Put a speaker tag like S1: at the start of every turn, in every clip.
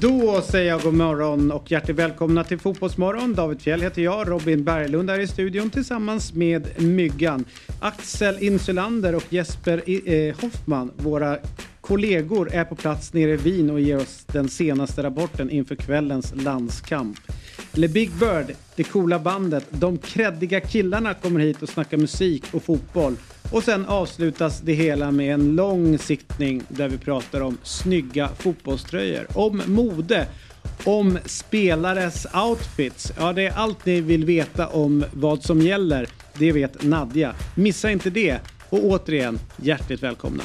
S1: Då säger jag god morgon och hjärtligt välkomna till Fotbollsmorgon. David Fjell heter jag, Robin Berglund är i studion tillsammans med Myggan, Axel Insulander och Jesper I- eh, Hoffman, våra kollegor, är på plats nere i Wien och ger oss den senaste rapporten inför kvällens landskamp. Le Big Bird, det coola bandet, de kreddiga killarna kommer hit och snackar musik och fotboll. Och sen avslutas det hela med en lång siktning där vi pratar om snygga fotbollströjor, om mode, om spelares outfits. Ja, det är allt ni vill veta om vad som gäller. Det vet Nadja. Missa inte det. Och återigen, hjärtligt välkomna.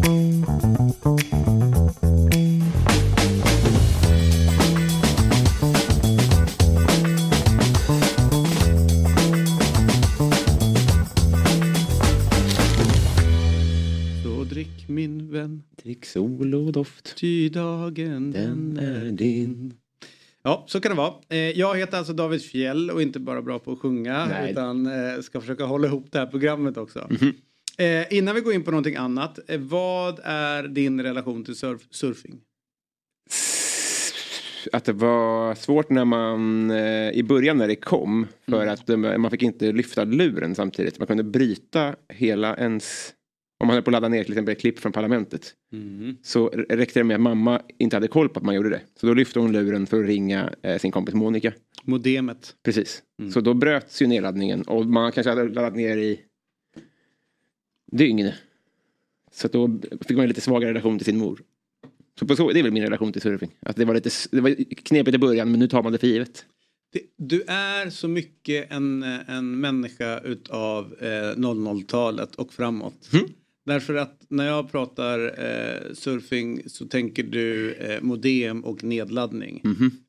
S1: Så drick min vän,
S2: Drick sol och doft.
S1: ty dagen
S2: Den är din.
S1: Ja, så kan det vara. Eh, Jag heter alltså David Fjell och inte bara bra på att sjunga
S2: Nej.
S1: utan eh, ska försöka hålla ihop det här programmet också. Eh, Innan vi går in på någonting annat, eh, vad är din relation till surf- surfing?
S3: att det var svårt när man eh, i början när det kom. Ehm, För
S4: Mm.
S3: att de, man fick inte lyfta luren samtidigt. Man kunde bryta hela ens... Om man höll på att ladda ner till exempel ett klipp från Parlamentet. Så r- räckte det med att mamma inte hade koll på att man gjorde det. Så då lyfte hon luren för att ringa eh, sin kompis Monica.
S1: Modemet.
S3: Precis. Så då bröts ju nedladdningen. Och man kanske hade laddat ner i dygn. Så att då fick man en lite svagare relation till sin mor. Så på så det är väl min relation till surfing. Att det var lite s- det var knepigt i början men nu tar man det för givet.
S1: Det- Du är så mycket en, eh, en människa utav eh, 00-talet och framåt. Därför att när jag pratar eh, surfing så tänker du eh, modem och nedladdning.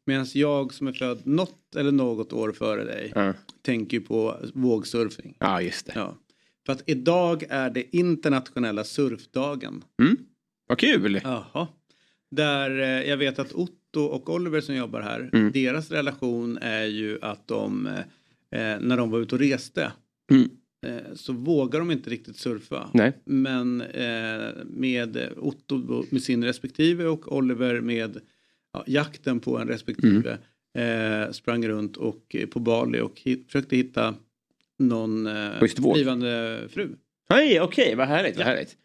S1: Medan jag som är född något eller något år före dig
S3: Ja,
S1: tänker ju på vågsurfing.
S3: ja just det.
S1: Ja. För att idag är det internationella surfdagen.
S3: Vad kul!
S1: Jaha. Där eh, jag vet att Otto och Oliver som jobbar här, deras relation är ju att de, eh, när de var ute och reste,
S3: Mm.
S1: eh, så vågar de inte riktigt surfa.
S3: Nej.
S1: Men eh, med Otto med sin respektive och Oliver med ja, jakten på en respektive
S3: Mm.
S1: eh, sprang runt och eh, på Bali och hit, försökte hitta någon eh,
S3: Schysst vård.
S1: blivande fru.
S3: Hej, okej, vad härligt. Vad härligt.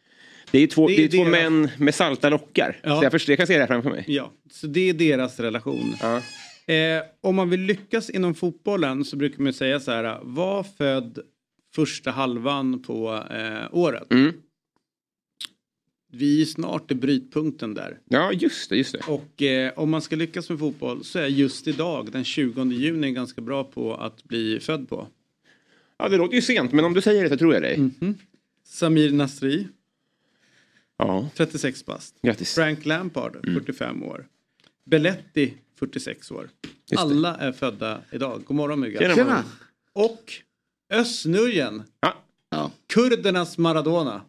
S3: Det är ju två,
S1: Det är
S3: det är två
S1: deras-
S3: män med salta lockar.
S1: Ja.
S3: Så jag, förstår, jag kan se det här framför mig.
S1: Ja, så det är deras relation.
S3: Ja.
S1: Eh, om man vill lyckas inom fotbollen så brukar man ju säga så här, var född första halvan på eh, året.
S3: Mm.
S1: Vi är snart i brytpunkten där.
S3: ja, just det, just det.
S1: Och eh, om man ska lyckas med fotboll så är just idag, den 20 juni, ganska bra på att bli född på.
S3: Ja, det låter ju sent men om du säger det så tror jag dig.
S1: Mm. Samir Nasri,
S3: Ja,
S1: 36 bast.
S3: grattis.
S1: Frank Lampard,
S3: Mm.
S1: 45 år. Belletti, 46 år.
S3: det.
S1: Alla är födda idag. God morgon Myggan.
S3: Tjena,
S2: Tjena.
S3: morgon.
S1: Och Östnöjen,
S3: Ja,
S2: Ja.
S1: kurdernas Maradona.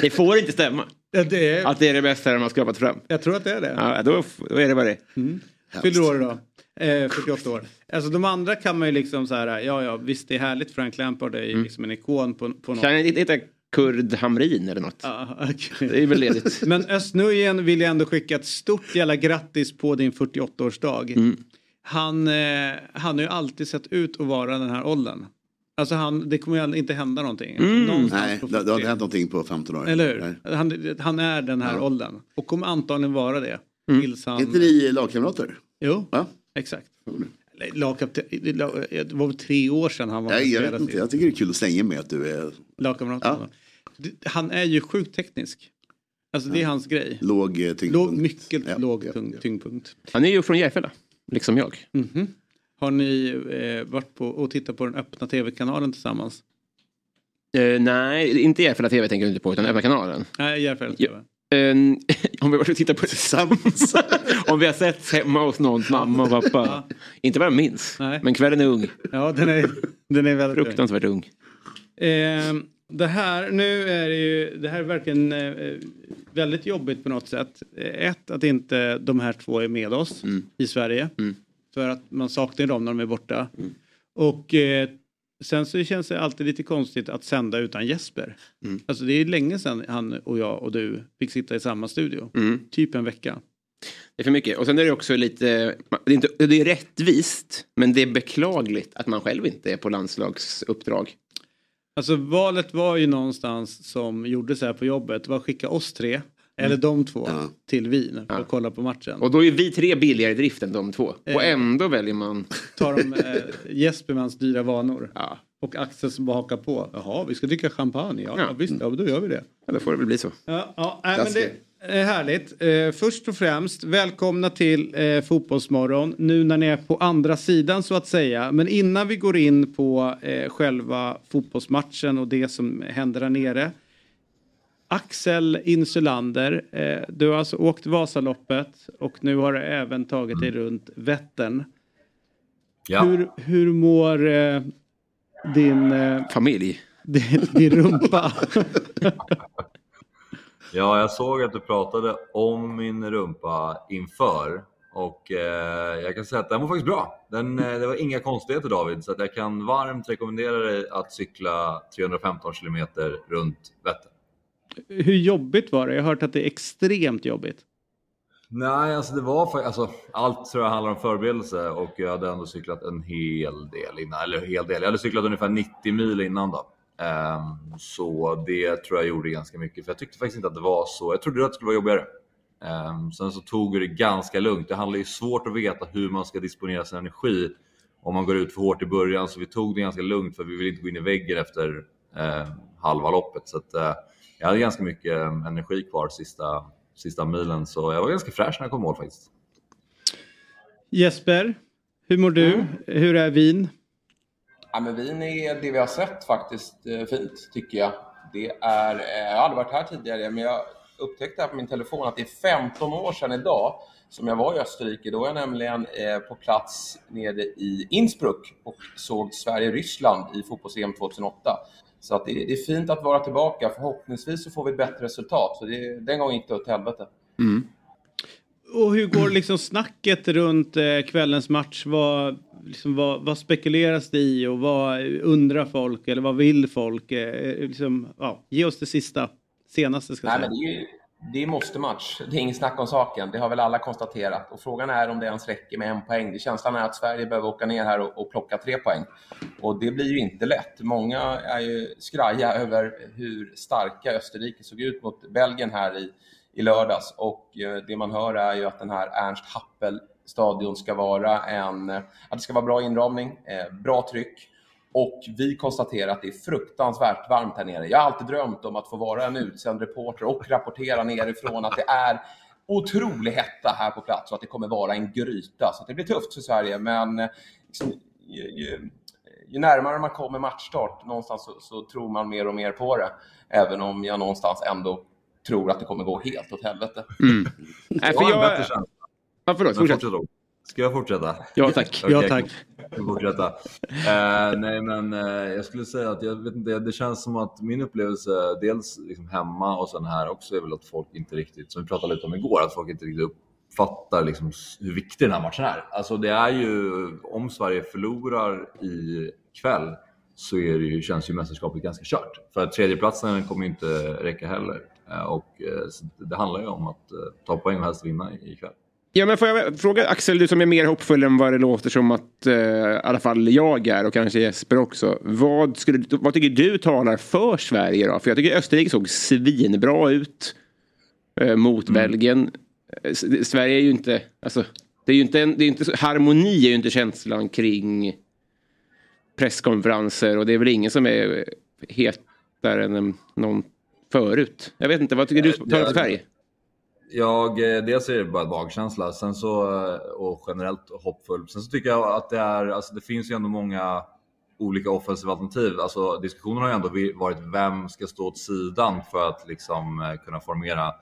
S3: det får inte stämma.
S1: Ja, Det är,
S3: Att det är det bästa de har skapat fram.
S1: jag tror att det är det.
S3: Ja, då, f- då är det vad det är.
S1: Mm. Fyller år idag. Eh, 48 år. Alltså de andra kan man ju liksom så här, ja ja visst det är härligt Frank Lampard är ju liksom en ikon på, på något.
S3: Mm. Kan jag inte heta Kurd Hamrin eller något?
S1: Ja, okej.
S3: Det är väl ledigt.
S1: Men Östnöjen vill jag ändå skicka ett stort jävla grattis på din 48-årsdag.
S2: Mm.
S1: Han, eh, han har ju alltid sett ut att vara den här åldern. Alltså han, det kommer ju aldrig- inte hända någonting. Någonstans
S2: Mm. Nej,
S1: på
S2: det, det har
S1: 40.
S2: inte hänt någonting på 15 år.
S1: Eller hur?
S2: Nej.
S1: Han, han är den här åldern. Och kommer antagligen vara det. Tills han...
S2: Mm. Är inte ni lagkamrater?
S1: Jo,
S2: Va?
S1: exakt. Eller, Lagkapten, lag- det var väl tre år sedan han var
S2: Nej, jag
S1: spelare
S2: vet inte.
S1: sist.
S2: Jag tycker det är kul att slänga med att du är
S1: lagkamrat.
S2: Ja.
S1: Det- Han är ju sjukt teknisk. Alltså det är hans grej.
S2: låg eh,
S1: Låg,
S2: tyngdpunkt.
S1: mycket
S2: Ja,
S1: låg
S2: ja,
S1: tyng,
S2: ja.
S1: tyngdpunkt. Mhm.
S3: Han är ju från Järfälla, liksom jag.
S1: Har ni eh, varit på och tittat på den öppna tv-kanalen tillsammans?
S3: Eh, nej, inte Järfälla TV tänker jag inte på, utan Öppna kanalen.
S1: Nej, Järfälla
S3: Ja.
S1: TV.
S3: Eh, om vi har tittat på tillsammans. om vi har sett hemma hos någons mamma och pappa. inte vad jag minns,
S1: Nej.
S3: men kvällen är ung.
S1: Ja, den är, den är väldigt bra.
S3: Fruktansvärt ung.
S1: Ehm, Eh, det här, nu är det ju, det här är verkligen eh, eh, väldigt jobbigt på något sätt. Eh, Ett, att inte de här två är med oss i Sverige. För att man saknar dem när de är borta. Och eh, sen så känns det alltid lite konstigt att sända utan Jesper. Alltså det är länge sedan han och jag och du fick sitta i samma studio.
S3: Mm.
S1: Typ en vecka.
S3: Det är för mycket. Och sen är det också lite, det är, inte, det är rättvist, men det är beklagligt att man själv inte är på landslagsuppdrag.
S1: Alltså valet var ju någonstans som gjordes här på jobbet. var att skicka oss tre, eller de två,
S2: Ja.
S1: till Wien för
S3: Ja.
S1: att kolla på matchen.
S3: Och då är vi tre billigare i drift än de två. Och
S1: Eh.
S3: ändå väljer man...
S1: tar de eh, Jesper med hans dyra vanor.
S3: Ja,
S1: Och Axel som bara hakar på. Jaha, vi ska dricka champagne. Ja,
S3: Ja.
S1: ja visst, ja, men då gör vi det.
S3: ja, då får det väl bli så.
S1: Ja, ja, nej, men det
S2: Taskigt.
S1: är härligt. Eh, först och främst, välkomna till eh, Fotbollsmorgon. Nu när ni är på andra sidan så att säga. Men innan vi går in på eh, själva fotbollsmatchen och det som händer där nere. Axel Insulander, eh, du har alltså åkt Vasaloppet och nu har du även tagit dig runt Vättern.
S5: Ja.
S1: Hur, hur mår eh, din, eh,
S3: Familj.
S1: din, din rumpa?
S5: ja, jag såg att du pratade om min rumpa inför och eh, jag kan säga att den var faktiskt bra. Den, eh, det var inga konstigheter David, så att jag kan varmt rekommendera dig att cykla 315 kilometer runt Vättern.
S1: Hur jobbigt var det? Jag har hört att det är extremt jobbigt.
S5: Nej, alltså det var faktiskt, alltså, allt tror jag handlar om förberedelse och jag hade ändå cyklat en hel del innan, eller hel del, jag hade cyklat ungefär 90 mil innan då. Ehm, så det tror jag gjorde ganska mycket, för jag tyckte faktiskt inte att det var så, jag trodde att det skulle vara jobbigare. Ehm, sen så tog jag det ganska lugnt, det handlar ju svårt att veta hur man ska disponera sin energi om man går ut för hårt i början, så vi tog det ganska lugnt för vi vill inte gå in i väggen efter eh, halva loppet. Så att, eh, jag hade ganska mycket eh, energi kvar sista, sista milen, så jag var ganska fräsch när jag kom i mål faktiskt.
S1: Jesper, hur mår du? Hur är Wien?
S6: Ja, men vin är det vi har sett faktiskt eh, fint, tycker jag. Det är, eh, jag har aldrig varit här tidigare, men jag upptäckte här på min telefon att det är 15 år sedan idag som jag var i Österrike. Då var jag nämligen eh, på plats nere i Innsbruck och såg Sverige-Ryssland i fotbolls-EM 2008. Så att det, det är fint att vara tillbaka. Förhoppningsvis så får vi ett bättre resultat. Så det, den gången gick det åt helvete.
S1: Och hur går liksom snacket runt eh, kvällens match? Vad, liksom, vad, vad spekuleras det i och vad undrar folk eller vad vill folk? Eh, liksom, ja, ge oss det sista, senaste ska jag
S6: Nej,
S1: säga.
S6: men det, är ju, det är måste-match. Det är ingen snack om saken. Det har väl alla konstaterat. Och frågan är om det ens räcker med en poäng. Det känslan är att Sverige behöver åka ner här och, och plocka tre poäng. Och det blir ju inte lätt. Många är ju skraja över hur starka Österrike såg ut mot Belgien här i, i lördags. Och eh, det man hör är ju att den här Ernst Happel stadion ska vara en, eh, att det ska vara bra inramning, eh, bra tryck och vi konstaterar att det är fruktansvärt varmt här nere. Jag har alltid drömt om att få vara en utsänd reporter och rapportera nerifrån att det är otrolig hetta här på plats och att det kommer vara en gryta. Så att det blir tufft för Sverige, men eh, liksom, ju, ju, ju närmare man kommer matchstart någonstans så, så tror man mer och mer på det. Även om jag någonstans ändå tror att det kommer gå helt åt helvete.
S3: Nej,
S5: Jag
S3: för
S5: har en
S3: jag...
S5: bättre känsla.
S3: Ja, förlåt.
S5: Men
S3: Fortsätt.
S5: fortsätt då. Ska jag fortsätta?
S3: Ja, tack.
S5: Okej,
S1: Ja, tack.
S5: jag kan Fortsätta. Eh, nej, men eh, jag skulle säga att jag vet inte, det känns som att min upplevelse, dels liksom hemma och sen här också, är väl att folk inte riktigt, som vi pratade lite om igår, att folk inte riktigt uppfattar liksom s- hur viktig den här matchen är. Alltså det är ju, om Sverige förlorar ikväll så är det ju, känns ju mästerskapet ganska kört. För att tredjeplatsen kommer ju inte räcka heller. Eh, Och eh, så det handlar ju om att eh, ta poäng och helst vinna ikväll.
S3: Ja, men får jag fråga Axel, du som är mer hoppfull än vad det låter som att eh, i alla fall jag är och kanske Jesper också. Vad, skulle, vad tycker du talar för Sverige då? För jag tycker Österrike såg svinbra ut eh, mot Belgien. Eh, S- det- Sverige är ju inte, alltså, det är ju inte, en, det är inte, så- harmoni är ju inte känslan kring presskonferenser och det är väl ingen som är eh, hetare än eh, någon förut. Jag vet inte, vad tycker du
S5: Eh,
S3: talar för
S5: det-
S3: Sverige?
S5: Jag, eh, dels är det bara magkänsla sen så, eh, och generellt hoppfull. Sen så tycker jag att det, är, alltså det finns ju ändå många olika offensiva alternativ. Alltså, diskussionen har ju ändå vi- varit vem ska stå åt sidan för att liksom, eh, kunna formera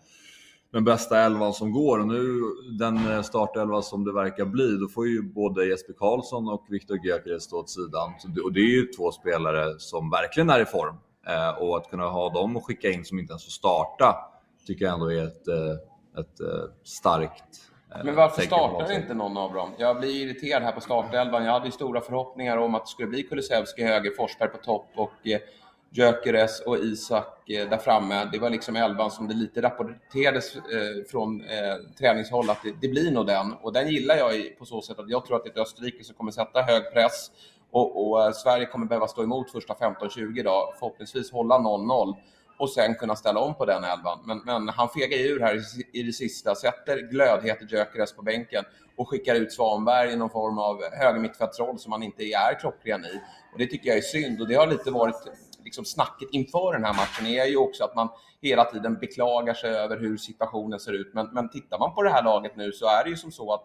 S5: den bästa elvan som går. Och nu den eh, startelva som det verkar bli, då får ju både Jesper Karlsson och Viktor Gyökeres stå åt sidan. Så det- Och det är ju två spelare som verkligen är i form. Eh, Och att kunna ha dem och skicka in som inte ens får starta tycker jag ändå är ett, eh, ett eh, starkt eh,
S6: Men varför
S5: tecken på
S6: startar
S5: avslut.
S6: inte någon av dem? Jag blir irriterad här på startelvan. Jag hade ju stora förhoppningar om att det skulle bli Kulusevski höger, Forsberg på topp och eh, Gyökeres och Isak eh, där framme. Det var liksom elvan som det lite rapporterades eh, från eh, träningshåll att det, det blir nog den. Och den gillar jag i- på så sätt att jag tror att det är ett Österrike som kommer sätta hög press och, och eh, Sverige kommer behöva stå emot första 15-20 dagar. Förhoppningsvis hålla 0-0 och sen kunna ställa om på den elvan. Men, men han fegar ju ur här i- i det sista, sätter glödhet i Gyökeres på bänken och skickar ut Svanberg i någon form av högermittfältsroll som han inte är klockren i. Och det tycker jag är synd och det har lite varit liksom snacket inför den här matchen är ju också att man hela tiden beklagar sig över hur situationen ser ut. Men, men tittar man på det här laget nu så är det ju som så att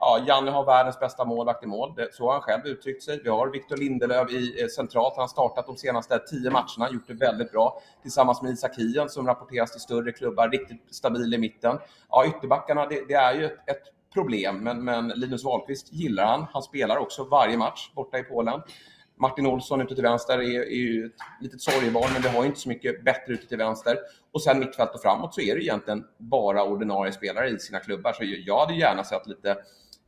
S6: Ja, Janne har världens bästa målvakt i mål. Det- Så har han själv uttryckt sig. Vi har Victor Lindelöf i eh, centralt. Han har startat de senaste tio matcherna, gjort det väldigt bra. Tillsammans med Isak Hien som rapporteras till större klubbar, riktigt stabil i mitten. Ja, ytterbackarna, det, det är ju ett, ett problem, men, men Linus Wahlqvist gillar han. Han spelar också varje match borta i Polen. Martin Olsson ute till vänster är, är ju ett litet sorgebarn, men vi har ju inte så mycket bättre ute till vänster. Och sen mittfält och framåt så är det egentligen bara ordinarie spelare i sina klubbar. Så jag hade gärna sett lite,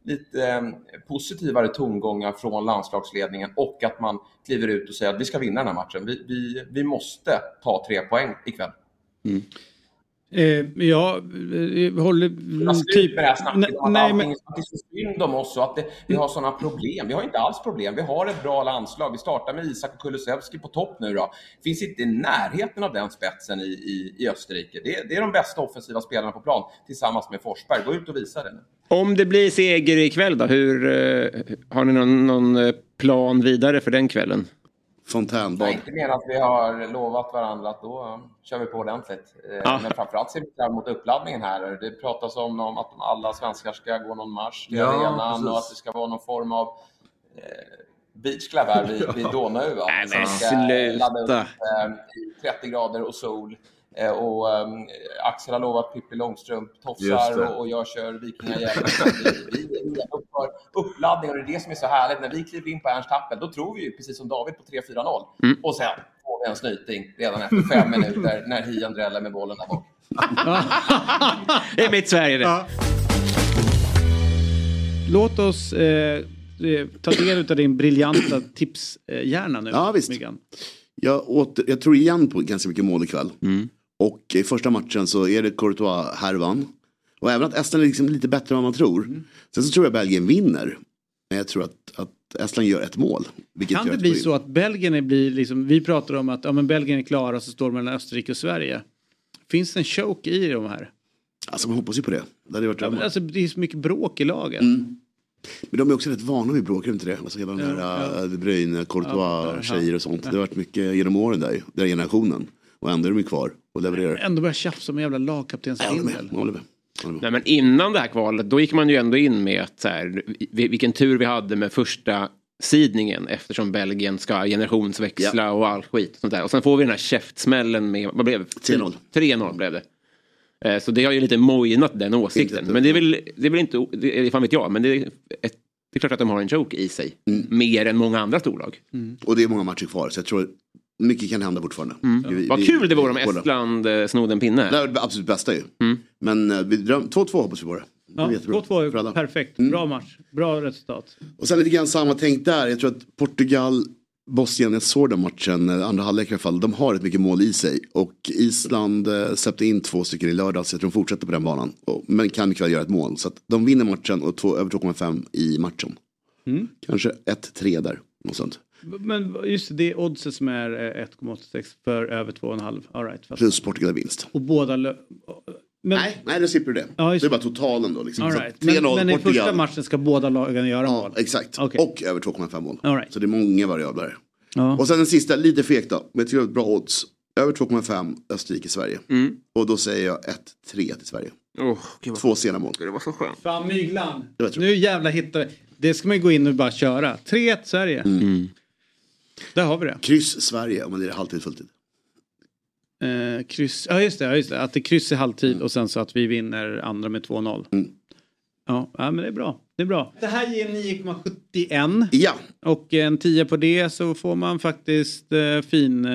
S6: lite eh, positivare tongångar från landslagsledningen och att man kliver ut och säger att vi ska vinna den här matchen. Vi, vi, vi måste ta tre poäng ikväll.
S1: Eh, ja, eh, håller...
S6: Alltså, typ med det här snacket om att,
S1: nej, men,
S6: allting, att det är så synd om oss och att det, vi har sådana problem. Vi har inte alls problem. Vi har ett bra landslag. Vi startar med Isak och Kulusevski på topp nu då. Finns inte i närheten av den spetsen i, i, i Österrike. Det, det är de bästa offensiva spelarna på plan tillsammans med Forsberg. Gå ut och visa det nu.
S3: Om det blir seger ikväll då, hur, eh, har ni någon, någon eh, plan vidare för den kvällen?
S6: Nej,
S2: Fontänbad.
S6: inte mer att vi har lovat varandra att då eh, kör vi på ordentligt. Eh,
S3: Ja.
S6: Men framförallt ser vi fram emot uppladdningen här. Det pratas om någon, att alla svenskar ska gå någon marsch till
S5: Ja,
S6: arenan
S5: precis.
S6: och att det ska vara någon form av eh, beachclub här vid, vid Donau. Va?
S3: Nej, men
S6: Som ska ladda upp,
S3: sluta.
S6: eh, i 30 grader och sol. Eh, Och ehm, Axel har lovat Pippi
S5: Just
S6: Långstrump-tofsar
S5: det.
S6: och, och jag kör Vikingahjälmen. vi, vi är redo för uppladdning och det är det som är så härligt. När vi kliver in på Ernst Happel, då tror vi ju precis som David på 3-4-0.
S5: Mm.
S6: Och sen får vi en snyting redan efter fem minuter när Hien dräller med bollen där bak.
S3: Det är mitt Sverige det.
S1: ja. Låt oss eh, eh, ta del av din briljanta tipshjärna nu.
S2: Ja, visst.
S1: Myggan.
S2: Jag, åter, jag tror igen på ganska mycket mål ikväll. Och i första matchen så är det Courtois-härvan. Och även att Estland är liksom lite bättre än vad man tror.
S1: Mm.
S2: Sen så tror jag Belgien vinner. Men jag tror att, att Estland gör ett mål. Vilket
S1: Kan
S2: gör
S1: det
S2: att
S1: bli
S2: går in.
S1: så att Belgien är- blir liksom, vi pratar om att ja, men Belgien är klara och så står det mellan Österrike och Sverige. Finns det en choke i de här?
S2: Alltså man hoppas ju på det. Det hade ju varit
S1: Ja, men
S2: drömmen.
S1: Alltså, det är så mycket bråk i lagen.
S2: Mm. Men de är också rätt vana vid bråk, är de inte det? Alltså hela den här
S1: Ja,
S2: ja. De Bruyne,
S1: Ja, ja.
S2: Courtois-tjejer och sånt. Det har varit mycket genom åren där, den generationen. Och ändå är de ju kvar och levererar.
S1: Ändå börjar tjafsa om en jävla
S2: Jag håller med.
S1: lagkaptensbindel.
S2: Jag håller med. Jag håller med.
S3: Nej, men innan det här kvalet, då gick man ju ändå in med att så här, vi- vilken tur vi hade med första sidningen eftersom Belgien ska generationsväxla och all skit. Och, sånt där. och sen får vi den här käftsmällen med, vad blev det?
S2: 3-0.
S3: 3-0 blev det. Eh, Så det har ju lite mojnat den åsikten.
S2: Inte-
S3: Men det är väl, det är väl inte, o- det är, fan vet jag, men det är, ett, det är klart att de har en joke i sig. Mer än många andra storlag.
S2: Och det är många matcher kvar, så jag tror mycket kan hända fortfarande. Vi-
S3: Vad
S2: vi-
S3: kul det vore om
S2: vi- båda.
S3: Estland eh, snodde en pinne.
S2: Det här är det absolut bästa ju. Men eh, vi dröm, 2-2 hoppas vi på det. Det är
S1: Ja,
S2: jättebra
S1: gott var ju
S2: för alla. Mm.
S1: perfekt. Bra match. Bra resultat.
S2: Och sen lite grann samma tänk där. Jag tror att Portugal, Bosnien, jag såg den matchen, eh, andra halvlek i alla fall, de har rätt mycket mål i sig. Och Island eh, släppte in två stycken i lördags, jag tror de fortsätter på den banan. Och, men kan mycket väl göra ett mål. Så att de vinner matchen och två, över 2,5 i matchen.
S1: Mm.
S2: Kanske 1-3 där, något sånt.
S1: Men just det, det är oddset som är eh, 1,86 för över 2,5. All right, fast-
S2: Plus Portugal vinst.
S1: och båda... lö- Men,
S2: Nej, nej, då slipper du det.
S1: Ja, just
S2: det är bara totalen då. Liksom.
S1: all
S2: Så
S1: right.
S2: att 3-0
S1: men, men i
S2: Portugal.
S1: första matchen ska båda lagen göra
S2: Ja,
S1: mål.
S2: exakt.
S1: Okej.
S2: Och över 2,5 mål.
S1: All right.
S2: Så det är många variabler.
S1: Ja.
S2: Och sen den sista, lite fegt då, men jag tycker det är bra odds. Över 2,5 Österrike-Sverige.
S1: Mm.
S2: Och då säger jag 1-3 till Sverige.
S3: Åh, gud, vad-
S2: Två sena mål.
S3: det var så skönt.
S1: Fan, myglan.
S2: Det var tråkigt.
S1: Mm. Nu jävla hittar vi. Det ska man ju gå in och bara köra. 3-1 Sverige. Där har vi det.
S2: Kryss Sverige om man lirar halvtid fulltid.
S1: Eh, kryss. Ja, just det, ja, just det. Att det kryss i halvtid och sen så att vi vinner andra med 2-0. Ja, ja, men det är bra. Det är bra. Det här ger 9,71
S2: Ja,
S1: och en 10 på det så får man faktiskt eh, fin... Eh,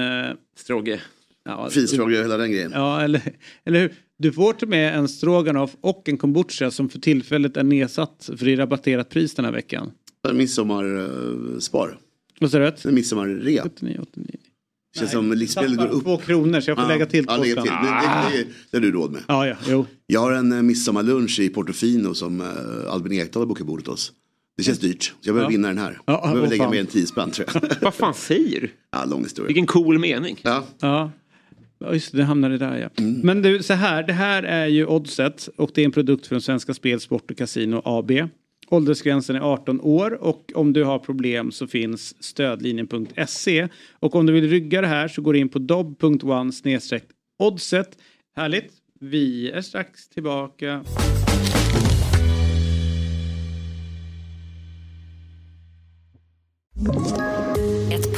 S3: Strogge.
S1: ja,
S2: fisfrågor och hela den grejen.
S1: ja, eller, eller hur? Du får till och med en stroganoff och en kombucha som för tillfället är nedsatt för det är rabatterat pris den här veckan.
S2: eh, Midsommarspar.
S1: Vad sa du?
S4: Mm.
S1: rätt?
S2: Midsommarrea.
S1: 79, 89.
S2: Känns som livsmedel går
S1: Tappar
S2: upp.
S1: Två kronor så jag får
S2: Ja,
S1: lägga till två
S2: ja, lägga
S1: spänn.
S2: till. Det, det, det, det har du råd med.
S1: Ja, ja, jo.
S2: Jag har en eh, midsommarlunch i Portofino som eh, Albin Ekdal har bokat bordet oss. Det känns dyrt. Så jag behöver
S1: Ja.
S2: vinna den här.
S1: Ja,
S2: jag behöver
S1: åh,
S2: lägga
S1: fan.
S2: mer än 10 spänn tror jag.
S3: Vad fan säger du?
S2: ja, lång historia.
S3: Vilken cool mening.
S2: Ja,
S1: Ja. Ja, just det, det hamnade där ja.
S2: Mm.
S1: Men du, så här, det här är ju Oddset och det är en produkt från Svenska Spel, Sport och Casino AB. Åldersgränsen är 18 år och om du har problem så finns stödlinjen.se. E. Och om du vill rygga det här så går du in på dob.one oddset. Härligt, vi är strax tillbaka.
S7: Ett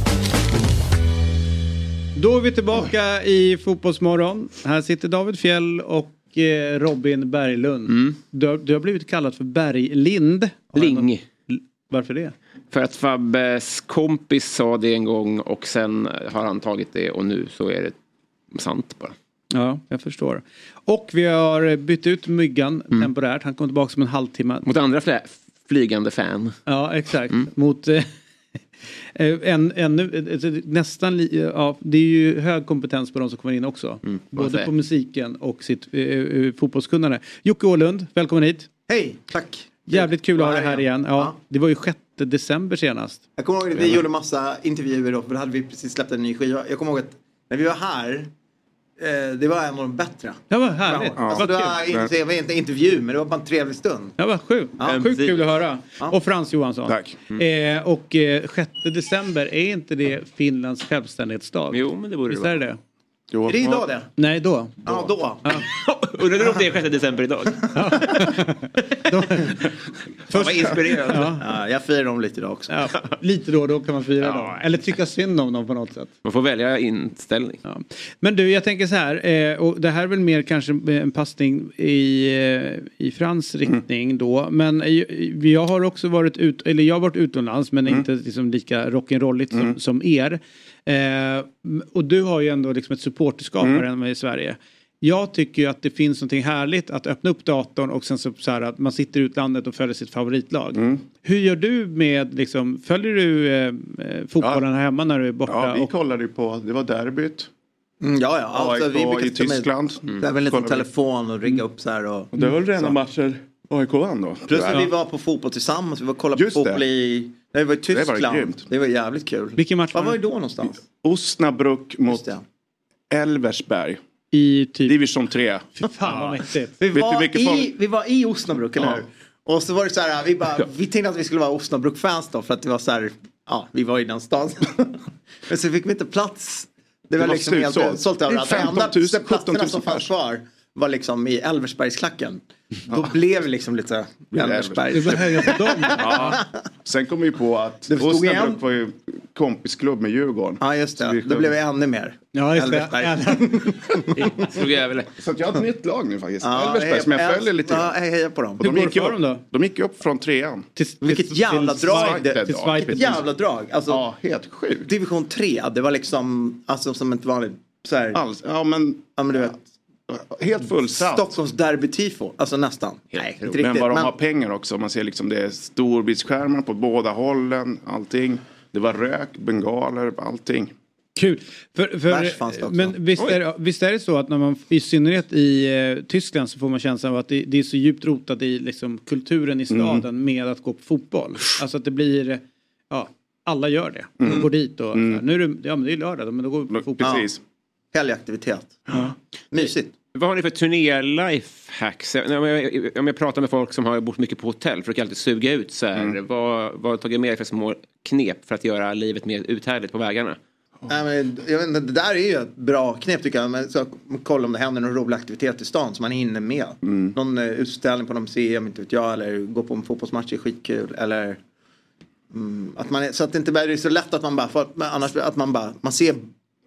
S1: Då är vi tillbaka i Fotbollsmorgon. Här sitter David Fjell och eh, Robin Berglund. Du, har- du har blivit kallad för Berglind. Har jag något-
S3: Ling.
S1: Varför det?
S3: För att Fabbes kompis sa det en gång och sen har han tagit det och nu så är det sant bara.
S1: Ja, jag förstår. Och vi har bytt ut Myggan temporärt. Han kom tillbaka om en halvtimme.
S3: Mot andra flä- Äh, flygande fan.
S1: Ja, exakt.
S3: Mm.
S1: Mot... Eh, eh, en, ännu, eh, nästan, li- ja, det är ju hög kompetens på de som kommer in också. Både
S3: varför?
S1: på musiken och sitt eh, eh, fotbollskunnande. Jocke Åhlund, välkommen hit.
S4: Hej, tack.
S1: Jävligt kul att ha
S4: Var
S1: dig här igen. Ja, Det var ju 6 december senast.
S4: Jag kommer ihåg att vi gjorde massa intervjuer då, för då hade vi precis släppt en ny skiva. Jag kommer ihåg att när vi var här, eh, det var en av de bättre.
S1: Det var härligt.
S4: Alltså,
S1: Vad
S4: det
S1: kul.
S4: var inte, det var inte en intervju, men det var bara en trevlig stund.
S1: Det var sjukt. sjukt kul att höra. Och Frans Johansson.
S8: Tack.
S3: Mm.
S1: Eh, och eh, 6 december, är inte det Finlands självständighetsdag?
S3: Jo, men det borde det
S1: Visst är det det?
S8: Jo,
S4: Är det idag det?
S1: Nej, då.
S4: Ja, då.
S3: Undrar om det är 6 december idag? Först... Vad inspirerande.
S4: Ja, jag firar dem lite idag också.
S1: Ja, lite då och då kan man fira
S3: Ja.
S1: dem. Eller tycka synd om dem på något sätt.
S3: Man får välja inställning.
S1: Ja. Men du, jag tänker så här, eh, och det här är väl mer kanske en passning i, eh, i Frans
S8: Mm.
S1: riktning då. Men eh, jag har också varit ut, eller jag har varit utomlands
S8: Mm.
S1: men inte liksom lika rock'n'rolligt som, som er. Eh, och du har ju ändå liksom ett supporterskap
S8: Mm.
S1: här hemma i Sverige. Jag tycker ju att det finns någonting härligt att öppna upp datorn och sen så, så här att man sitter i utlandet och följer sitt favoritlag.
S8: Mm.
S1: Hur gör du med, liksom, följer du eh, eh, fotbollen här hemma när du är borta?
S8: Ja, vi
S1: Eh, och-
S8: kollade ju på, det var derbyt.
S4: Mm, ja, ja. Alltså, vi
S8: AIK
S4: brukar
S8: i
S4: sitta med-
S8: Tyskland.
S4: Det är väl en liten
S8: Kollar vi. Mm.
S4: telefon och ringa upp så här och... Mm.
S8: Och det var väl rena matcher AIK vann då?
S4: Plus
S8: tyvärr.
S4: att vi var på fotboll tillsammans, vi var och kollade
S8: Just
S4: på fotboll
S8: det.
S4: i... Nej, vi var i
S8: var
S4: Tyskland.
S8: grymt.
S4: Det var jävligt kul.
S1: Vilken match
S4: var
S1: var
S4: var
S1: det?
S4: vi då någonstans?
S8: Osnabrück mot
S4: Just det.
S8: Elversberg.
S1: I typ...
S8: Division 3.
S1: Fy fan vad mäktigt.
S4: Vi
S8: Vet du
S4: var,
S8: vilket
S4: i,
S8: folk-
S4: vi var i Osnabrück, eller
S8: Ja.
S4: hur? Och så var det så här, vi, bara, vi tänkte att vi skulle vara Osnabrück-fans då för att det var så här, ja, vi var i den stan. Men så fick vi inte plats. Det var,
S8: var
S4: liksom helt
S8: slutsålt.
S4: utsålt överallt.
S8: Det är
S4: Det
S8: 15
S4: enda
S8: 000,
S4: platserna som
S8: 17 000
S4: fanns kvar var liksom i Elversbergsklacken. Då blev vi liksom lite
S1: Du
S4: Elversberg.
S1: börjar höja på dem.
S8: Sen kom vi ju på att
S4: Det stod igen.
S8: Osnabrück var ju kompisklubb med Djurgården.
S4: Ja just
S8: Så
S4: det,
S8: vi
S4: då blev vi ännu mer.
S1: Ja, just det.
S4: Elversberg.
S3: Slog jag väl.
S8: Så att jag har ett nytt lag nu faktiskt.
S4: Ja,
S8: Elversberg som jag
S4: heja-
S8: följer lite
S4: Ja,
S8: grann.
S4: heja på dem.
S8: Och
S1: Hur går
S8: gick
S1: det
S8: ju
S1: för
S8: upp-
S1: dem då?
S8: De gick ju upp från trean.
S1: Till-
S4: Vilket
S1: till-
S4: jävla
S1: till
S4: drag
S1: Zweig-
S8: det-
S1: Till
S8: ja.
S1: Zweig-
S4: Jävla drag. Alltså,
S8: Ja, helt sjukt.
S4: Division 3, det var liksom alltså, som ett vanligt så här,
S8: Alls, ja men
S4: ja, men du vet,
S8: helt fullsatt.
S4: Stockholms derby-tifo. Alltså nästan. Nej, inte riktigt.
S8: Men vad de
S4: men-
S8: har pengar också. Man ser liksom det är storbildsskärmar på båda hållen. Allting. Det var rök, bengaler, allting.
S1: Kul. För,
S4: Bärs fanns det
S1: för,
S4: också.
S1: men visst är, visst är det så att när man, i synnerhet i eh, Tyskland så får man känslan av att det, det är så djupt rotat i liksom, kulturen
S4: Mm.
S1: i staden med att gå på fotboll. Alltså att det blir, eh, ja, alla gör det. De
S4: Mm.
S1: går dit och, så här, nu är det, ja men det är lördag, men då går vi på fotboll.
S8: Precis.
S4: Helgaktivitet. Mysigt.
S3: Vad har ni för turné-life hacks? Jag- Om jag, om jag pratar med folk som har bott mycket på hotell försöker jag alltid suga
S8: Mm.
S3: ut så här. Vad, vad har tagit med er för små knep för att göra livet mer uthärdligt på vägarna?
S4: Nej, men, jag vet, inte, det där är ju ett bra knep tycker jag. Men, så, kolla om det händer någon rolig aktivitet i stan som man hinner med.
S8: Mm.
S4: Någon eh, utställning på något museum, inte vet jag. Eller gå på en fotbollsmatch är skitkul. Eller, mm, att man är, så att det inte bara det är så lätt att man bara, för, men annars, att man bara, man ser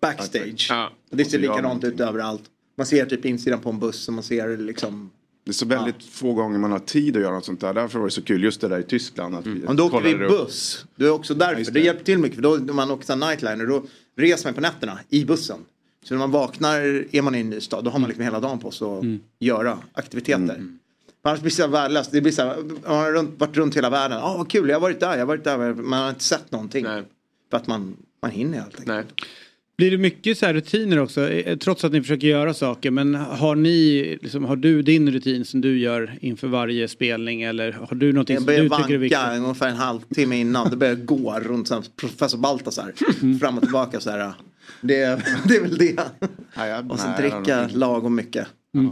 S4: backstage. Och det
S8: Och så
S4: ser
S8: gör
S4: likadant
S8: någonting.
S4: ut överallt. Man ser typ insidan på en buss och man ser liksom
S8: Det är så väldigt få gånger man har tid att göra något sånt där. Därför var det så kul just det där i Tyskland. Att
S4: Om du Mm. åkte vi
S8: kollade upp.
S4: buss, du är också därför. det. hjälper till mycket för då om man åker sån här nightliner då reser man på nätterna i bussen. Så när man vaknar är man i en ny stad, då har man liksom hela dagen på sig att
S1: Mm.
S4: göra aktiviteter.
S3: Mm.
S4: Annars blir det så här värdelöst. Det blir så här, man har runt, varit runt hela världen. Ja, vad kul, jag har varit där, jag har varit där. Man har inte sett någonting. För att man, man hinner helt enkelt.
S1: Blir det mycket så här rutiner också? Eh, Trots att ni försöker göra saker. Men har, ni, liksom, har du din rutin som du gör inför varje spelning? Eller har du någonting
S4: Jag
S1: som du
S4: börjar
S1: tycker är viktigt?
S4: vanka ungefär en halvtimme innan. Det börjar gå runt så här, professor Baltasar.
S1: Mm.
S4: Fram och tillbaka så här. Det, det är väl det. och sen
S1: nej, jag har
S4: dricka
S1: nog-
S4: lagom mycket.
S1: Mm.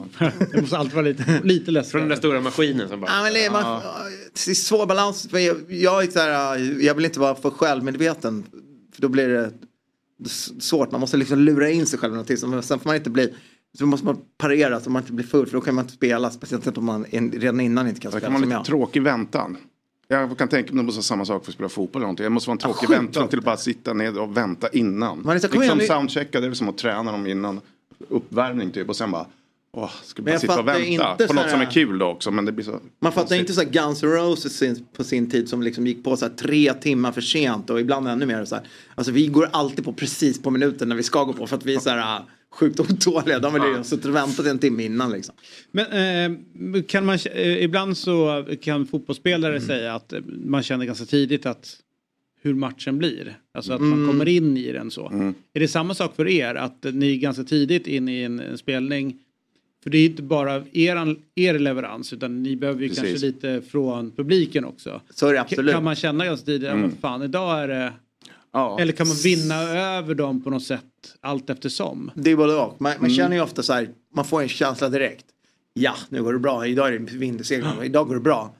S1: det måste alltid vara lite, lite läskigt.
S3: Från den där stora maskinen som bara...
S4: Ja, men det, är, man, det är svår balans. Men jag, jag, är så här, jag vill inte vara för självmedveten. För då blir det s- svårt. Man måste liksom lura in sig själv i någonting. Men Sen får man inte bli... Så måste man parera så man inte blir full. För då kan man inte spela. Speciellt inte om man en- redan innan inte kan
S8: Det
S4: spela.
S8: kan vara
S4: som
S8: lite
S4: jag.
S8: tråkig väntan. Jag kan tänka mig att det måste vara samma sak för att spela fotboll eller någonting. Det måste vara en tråkig
S4: sjukt
S8: väntan till att bara sitta ner och vänta innan.
S4: Man är så här, kom
S8: liksom
S4: igen nu.
S8: soundchecka, det är väl som att träna dem innan uppvärmning typ. Och sen bara, åh, ska
S4: Men
S8: bara
S4: jag
S8: sitta och
S4: fattar ju
S8: vänta.
S4: inte
S8: På
S4: så
S8: något
S4: här-
S8: som är kul då också. Men det blir så...
S4: Man fattar ju inte så här Guns N' Roses sin- på sin tid som liksom gick på så här tre timmar för sent och ibland ännu mer. Så här. Alltså vi går alltid på precis på minuten när vi ska gå på för att vi är så här äh, sjukt otåliga. De vill ju ha suttit och väntat en timme innan liksom.
S1: Men eh, kan man, eh, ibland så kan fotbollsspelare
S4: Mm.
S1: säga att eh, man känner ganska tidigt att hur matchen blir. Alltså att man
S4: Mm.
S1: kommer in i den så.
S4: Mm.
S1: Är det samma sak för er att eh, ni ganska tidigt in i en, en spelning för det är inte bara er, er leverans utan ni behöver ju
S4: Precis.
S1: kanske lite från publiken också.
S4: Så är det
S1: K-
S4: absolut.
S1: Kan man känna ganska tidigt, ja
S4: Mm.
S1: men fan idag är det...
S4: Ja.
S1: Eller kan man vinna över dem på något sätt allt eftersom?
S4: Det är både och. Man, man
S1: Mm.
S4: känner ju ofta så här, man får en känsla direkt. Ja, nu går det bra. Idag är det vinterseglande. Idag går det bra.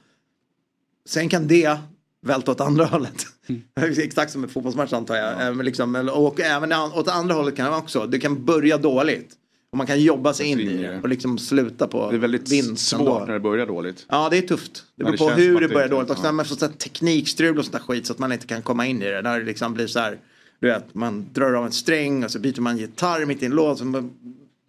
S4: Sen kan det välta åt andra hållet.
S8: Mm.
S4: Exakt som en fotbollsmatch antar jag. Även liksom, eller- och även an- åt andra hållet kan det också. Det kan börja dåligt. Och man kan jobba sig in i det och liksom sluta på
S8: Det är väldigt
S4: vinst
S8: svårt när det börjar dåligt.
S4: Ja, det är tufft. Det
S8: Ja,
S4: beror
S8: det
S4: på
S8: känns som
S4: hur
S8: att
S4: det
S8: det
S4: börjar
S8: inte-
S4: dåligt. Och
S8: ja.
S4: sen med sånt där teknikstrul och sånt där skit så att man inte kan komma in i det. När det liksom blir så här, du vet, man drar av en sträng och så byter man gitarr mitt i en låt. Så man,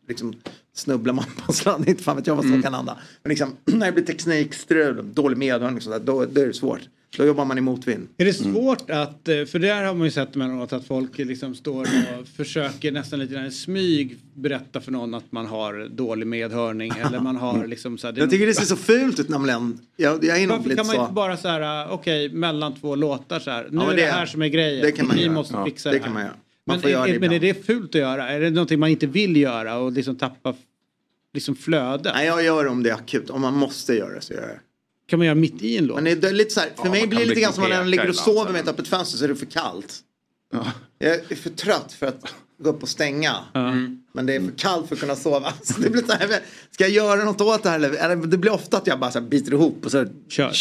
S4: liksom snubblar man på en sladd, inte fan vet jag vad som
S3: Mm.
S4: kan hända. Men liksom, när det blir teknikstrul, dålig medhörning och sånt där, då, då är det svårt. Då jobbar man i motvind.
S1: Är det svårt att, eh, för där har man ju sett emellanåt att folk liksom står och försöker nästan lite grann i smyg berätta för någon att man har dålig medhörning eller man har liksom så här,
S4: Jag tycker det ser så fult ut nämligen. Jag, jag är nog
S1: Varför
S4: lite
S1: kan man
S4: så.
S1: inte bara så här, eh, okej, mellan två låtar så här, nu
S4: men
S1: är det,
S4: det-
S1: här som är grejen,
S4: det kan man
S1: ni
S4: göra.
S1: måste
S4: Ja,
S1: fixa
S4: det
S1: det här.
S4: kan man göra. Man
S1: Men,
S4: får
S1: är,
S4: göra det
S1: är, men är det fult att göra? Är det någonting man inte vill göra och liksom tappa liksom flödet?
S4: Nej, jag gör det om det är akut. Om man måste göra det så gör jag det.
S1: Kan man göra mitt i en låt?
S4: Men det det är lite så här, för
S1: Ja,
S4: mig
S1: man
S4: blir det
S1: kan
S4: lite grann som när
S1: liksom
S4: man
S1: peka
S4: ligger och
S1: ibland
S4: sover med ett öppet fönster så är det för kallt. Jag är för trött för att gå upp och stänga. Men det är för kallt för att kunna sova. Så det blir så här, ska jag göra något åt det här? Eller, eller det blir ofta att jag bara så här biter ihop och så kör,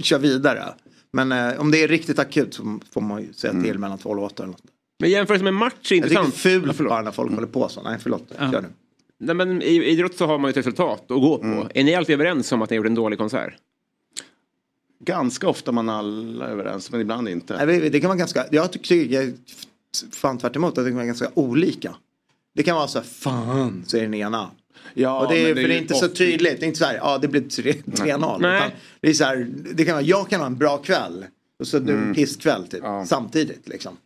S4: kör, vidare. Men eh, om det är riktigt akut så får man ju säga till mellan två låtar. Eller något.
S3: Men jämförelse med match är
S4: Jag tycker Mm. det är
S3: intressant.
S4: fult bara när folk håller på så. Nej, förlåt. Kör du.
S3: Nej, men I i idrott så har man ju ett resultat att gå på.
S4: Mm.
S3: Är ni alltid överens om att ni har gjort en dålig konsert?
S8: Ganska ofta man alla är överens, men ibland inte.
S4: Nej, det- det kan vara ganska, jag tycker, jag, fan tvärt emot, jag tycker man är ganska olika. Det kan vara så här, fan, så är den ena.
S8: Ja,
S4: och det är,
S8: men
S4: för det är
S8: ju
S4: inte så
S8: ofta-
S4: tydligt, det är inte så här, ja det blev tre- 3-0.
S8: Nej.
S4: utan Det är så här, det kan vara, jag kan ha en bra kväll och så du en
S1: Mm.
S4: pisskväll typ, samtidigt liksom.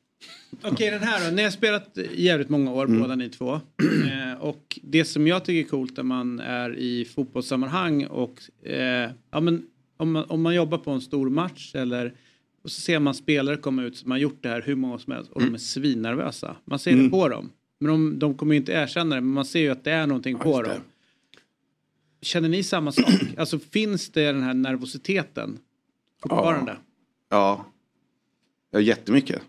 S1: Okej, den här då. Ni har spelat jävligt många år båda ni två. Eh, och det som jag tycker är coolt när man är i fotbollssammanhang och eh, ja, men om, man, om man jobbar på en stor match eller och så ser man spelare komma ut som har gjort det här hur många som helst och de är svinnervösa. Man ser det
S9: Mm.
S1: på dem. Men de, de kommer ju inte erkänna det men man ser ju att det är någonting på dem. Känner ni samma sak? Alltså finns det den här nervositeten fortfarande?
S8: Ja. ja, jättemycket.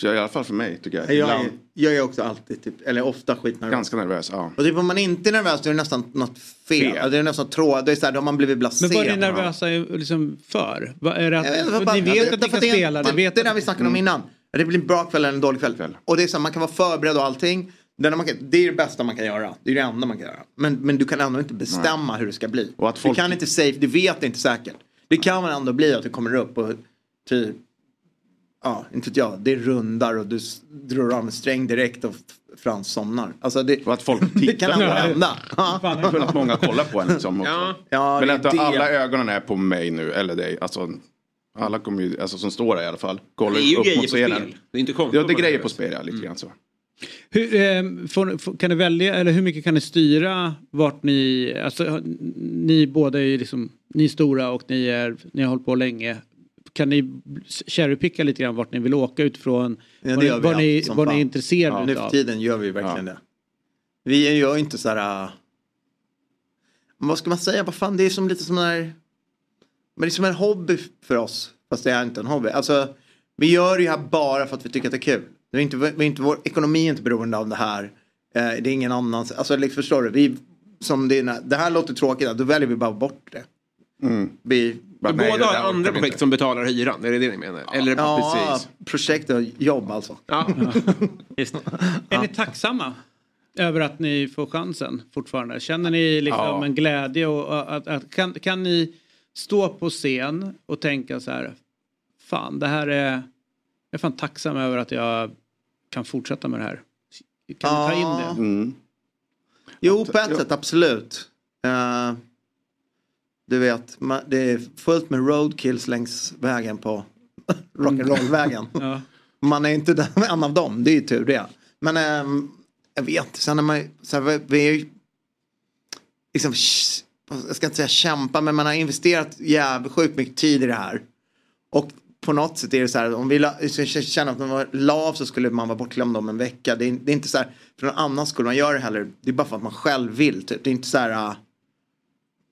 S8: Så I alla fall för mig tycker jag.
S4: Jag är,
S8: Ibland
S4: jag är också alltid, typ, eller ofta skitnervös.
S8: Ganska nervös, ja.
S4: Och typ om man inte är nervös då är det nästan något fel.
S8: Fel.
S4: Ja, Det är nästan tråd, det är så här, då har man blivit blasé.
S1: Men vad är ni nervösa liksom för? Vad är det
S4: Jag
S1: att,
S4: vet, vad fan-
S1: ni
S4: jag vet
S1: vet att Eh, ni
S4: inte,
S1: kan
S4: för det är-
S1: spela? ni
S4: det-
S1: vet Mm.
S4: Det där vi snackade om innan. Det blir en bra kväll eller en dålig kväll. Och det är så här, man kan vara förberedd och allting. Det enda man kan, det är det bästa man kan göra. Det är det enda man kan göra. Men, men du kan ändå inte bestämma hur det ska bli.
S8: Och att folk-
S4: Du kan inte säga, du vet inte säkert. Det kan ändå bli att du kommer upp och typ, ja, inte vet jag, det rundar och du s- drar av en sträng direkt och f- Frans somnar. Alltså det, och att folk Det kan ändå hända.
S8: Det är väldigt många kollar på en liksom också.
S4: Ja. Ja,
S8: Men
S4: det är
S8: att
S4: det.
S8: alla ögonen är på mig nu, eller dig. Alltså, alla kommer ju, alltså som står där i alla fall. Kollar
S1: Det är ju
S8: upp
S1: grejer
S8: mot
S1: på
S8: scenen.
S1: spel. Det är inte konstigt
S8: Ja, det är
S1: att man
S8: grejer
S1: gör
S8: på spel, ja. Lite
S1: Mm.
S8: grann så.
S1: Hur, eh, får, får, kan du välja, eller hur mycket kan ni styra vart ni, alltså har- ni båda är ju liksom, ni är stora och ni, är, ni har hållit på länge. Kan ni cherrypicka lite grann vart ni vill åka utifrån
S4: Ja,
S1: vad,
S4: det
S1: ni,
S4: gör vi
S1: vad, ni,
S4: allt som
S1: vad ni är
S4: fan.
S1: intresserade
S4: Ja.
S1: av?
S4: Nu för tiden gör vi verkligen det. Vi gör ju inte så här... äh, men Vad ska man säga? Vad fan, det är som lite som när... Men det är som en hobby för oss. Fast det är inte en hobby. Alltså, vi gör det här bara för att vi tycker att det är kul. Det är inte, vi är inte, vår ekonomi är inte beroende av det här. Eh, det är ingen annans. Alltså, liksom, förstår du? Vi, som det, är när- det här låter tråkigt, då väljer vi bara bort det. Vi,
S3: Men båda har andra projekt som betalar hyran, är det det ni menar? Eller
S4: Ja,
S3: precis.
S4: projekt och jobb alltså.
S1: Är ni tacksamma över att ni får chansen fortfarande? Känner ni liksom
S8: Ja.
S1: en glädje? Och, och, att, att, kan, kan ni stå på scen och tänka så här, fan det här är, jag är fan tacksam över att jag kan fortsätta med det här. Kan ni ta in det?
S4: Jo, på ett sätt absolut. Eh, du vet, ma- det är fullt med roadkills längs vägen på rock'n'roll-vägen. Man är inte den- en av dem, det är ju tur det. Men ehm, jag vet, sen är man ju- så här, vi- vi är ju liksom, sh- jag ska inte säga kämpa, men man har investerat jävligt sjukt mycket tid i det här. Och på något sätt är det så här, om vi la- k- k- känner att man var lav så skulle man vara bortglömd om en vecka. Det är, det är inte så här, för någon annan skulle man göra det heller. Det är bara för att man själv vill. Typ. Det är inte så här, ah,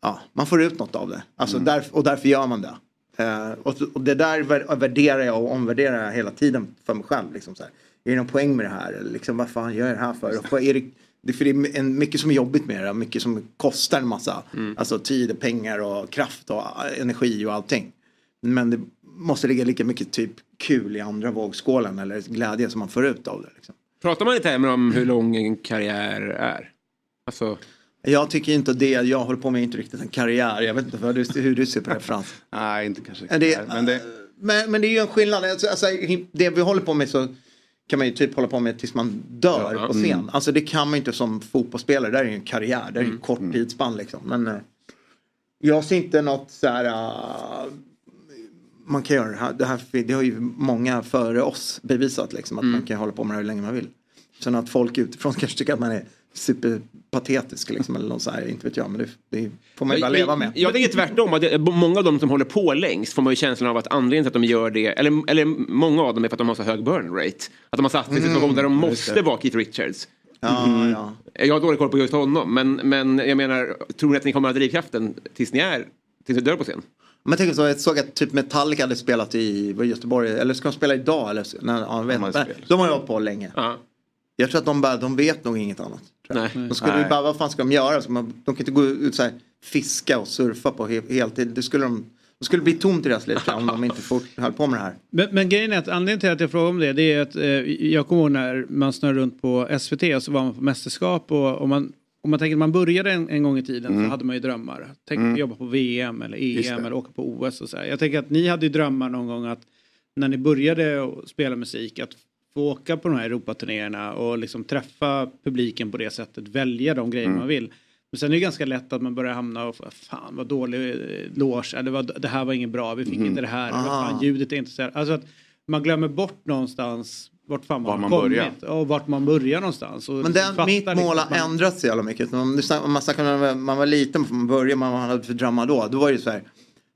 S4: ja, man får ut något av det. Alltså, där, och därför gör man det. Eh, och, och det där vär- värderar jag och omvärderar jag hela tiden för mig själv. Liksom, så här. Är det någon poäng med det här? Eller liksom, vad fan gör jag det här för? Och, vad är det, det, för det är en, mycket som är jobbigt med det. Mycket som kostar en massa. Alltså tid och pengar och kraft och eh, energi och allting. Men det måste ligga lika mycket typ kul i andra vågskålen eller glädje som man får ut av det. Liksom.
S3: Pratar man i termer om hur lång en karriär är? Alltså,
S4: Jag tycker inte att det jag håller på med är inte riktigt en karriär. Jag vet inte vad du, hur du ser på det Frans.
S8: Nej, inte kanske.
S4: Ja, det-
S8: men det...
S4: Men, men det är ju en skillnad. Alltså, alltså, det vi håller på med så kan man ju typ hålla på med tills man dör
S8: Ja,
S4: på scen.
S8: mm.
S4: Alltså det kan man ju inte som fotbollsspelare. Där är ju en karriär. Där är ju en kort
S8: Mm.
S4: tidsspann liksom. Men eh, jag ser inte något så här. ah, man kan göra det här. Det, här. det har ju många före oss bevisat liksom. Att
S3: Mm.
S4: man kan hålla på med det här hur länge man vill. Sen att folk utifrån kanske tycker att man är superpatetisk liksom. Eller något så här. Inte vet jag. Men det, det får man ju bara
S3: Men-
S4: leva
S3: men
S4: med.
S3: Jag tänker tvärtom. Att det, många av dem som håller på längst får man ju känslan av att anledningen till att de gör det, eller, eller många av dem är för att de har så hög burn rate. Att de har satt sig i en situation
S4: Mm,
S3: där de
S4: just det.
S3: måste vara Keith Richards.
S4: Ja, ja.
S3: Jag har dålig koll på just honom, men, men jag menar, tror ni att ni kommer att ha drivkraften tills ni är, tills ni dör på scen?
S4: Men tänk så, jag såg att typ Metallica hade spelat i var det Göteborg, eller ska de spela idag? Eller, så- nej, ja, jag vet, inte. de har ju hållit på länge. Jag tror att de bara, de vet nog inget annat. tror jag.
S3: Nej.
S4: De skulle ju
S3: Nej.
S4: bara, vad fan ska de göra? Så man, de kan inte gå ut så här, fiska och surfa på he, heltid. Det skulle de, det skulle bli tomt i deras liv tror jag, om de inte fort, höll på med det här.
S1: Men, men grejen är att anledningen till att jag frågar om det, det är att eh, jag kommer ihåg när man snurrade runt på SVT och så var man på mästerskap och om man, om man tänker att man började en, en gång i tiden
S3: Mm.
S1: så hade man ju drömmar. Tänk
S3: Mm.
S1: jobba på VM eller
S3: Just
S1: EM
S3: det.
S1: eller åka på OS och så här. Jag tänker att ni hade ju drömmar någon gång att när ni började och spela musik att få åka på de här Europaturnéerna och liksom träffa publiken på det sättet, välja de grejer
S3: Mm.
S1: man vill. Men sen är det ganska lätt att man börjar hamna och fan vad dålig eh, lås, eller vad, det här var inget bra, vi fick
S3: Mhm.
S1: inte det här, eller
S3: Ah.
S1: vad fan, ljudet är inte så här. Alltså att man glömmer bort någonstans vart fan man,
S4: Var
S1: har
S4: man
S1: kommit
S4: börjar.
S1: och vart man börjar någonstans. Och
S4: Men den,
S1: fattar
S4: mitt
S1: liksom
S4: mål
S1: att man-
S4: har ändrat sig jävla mycket. Om, du snack, om man snackar om när man var liten, från början, man hade för drömmar då. Då var det ju så här.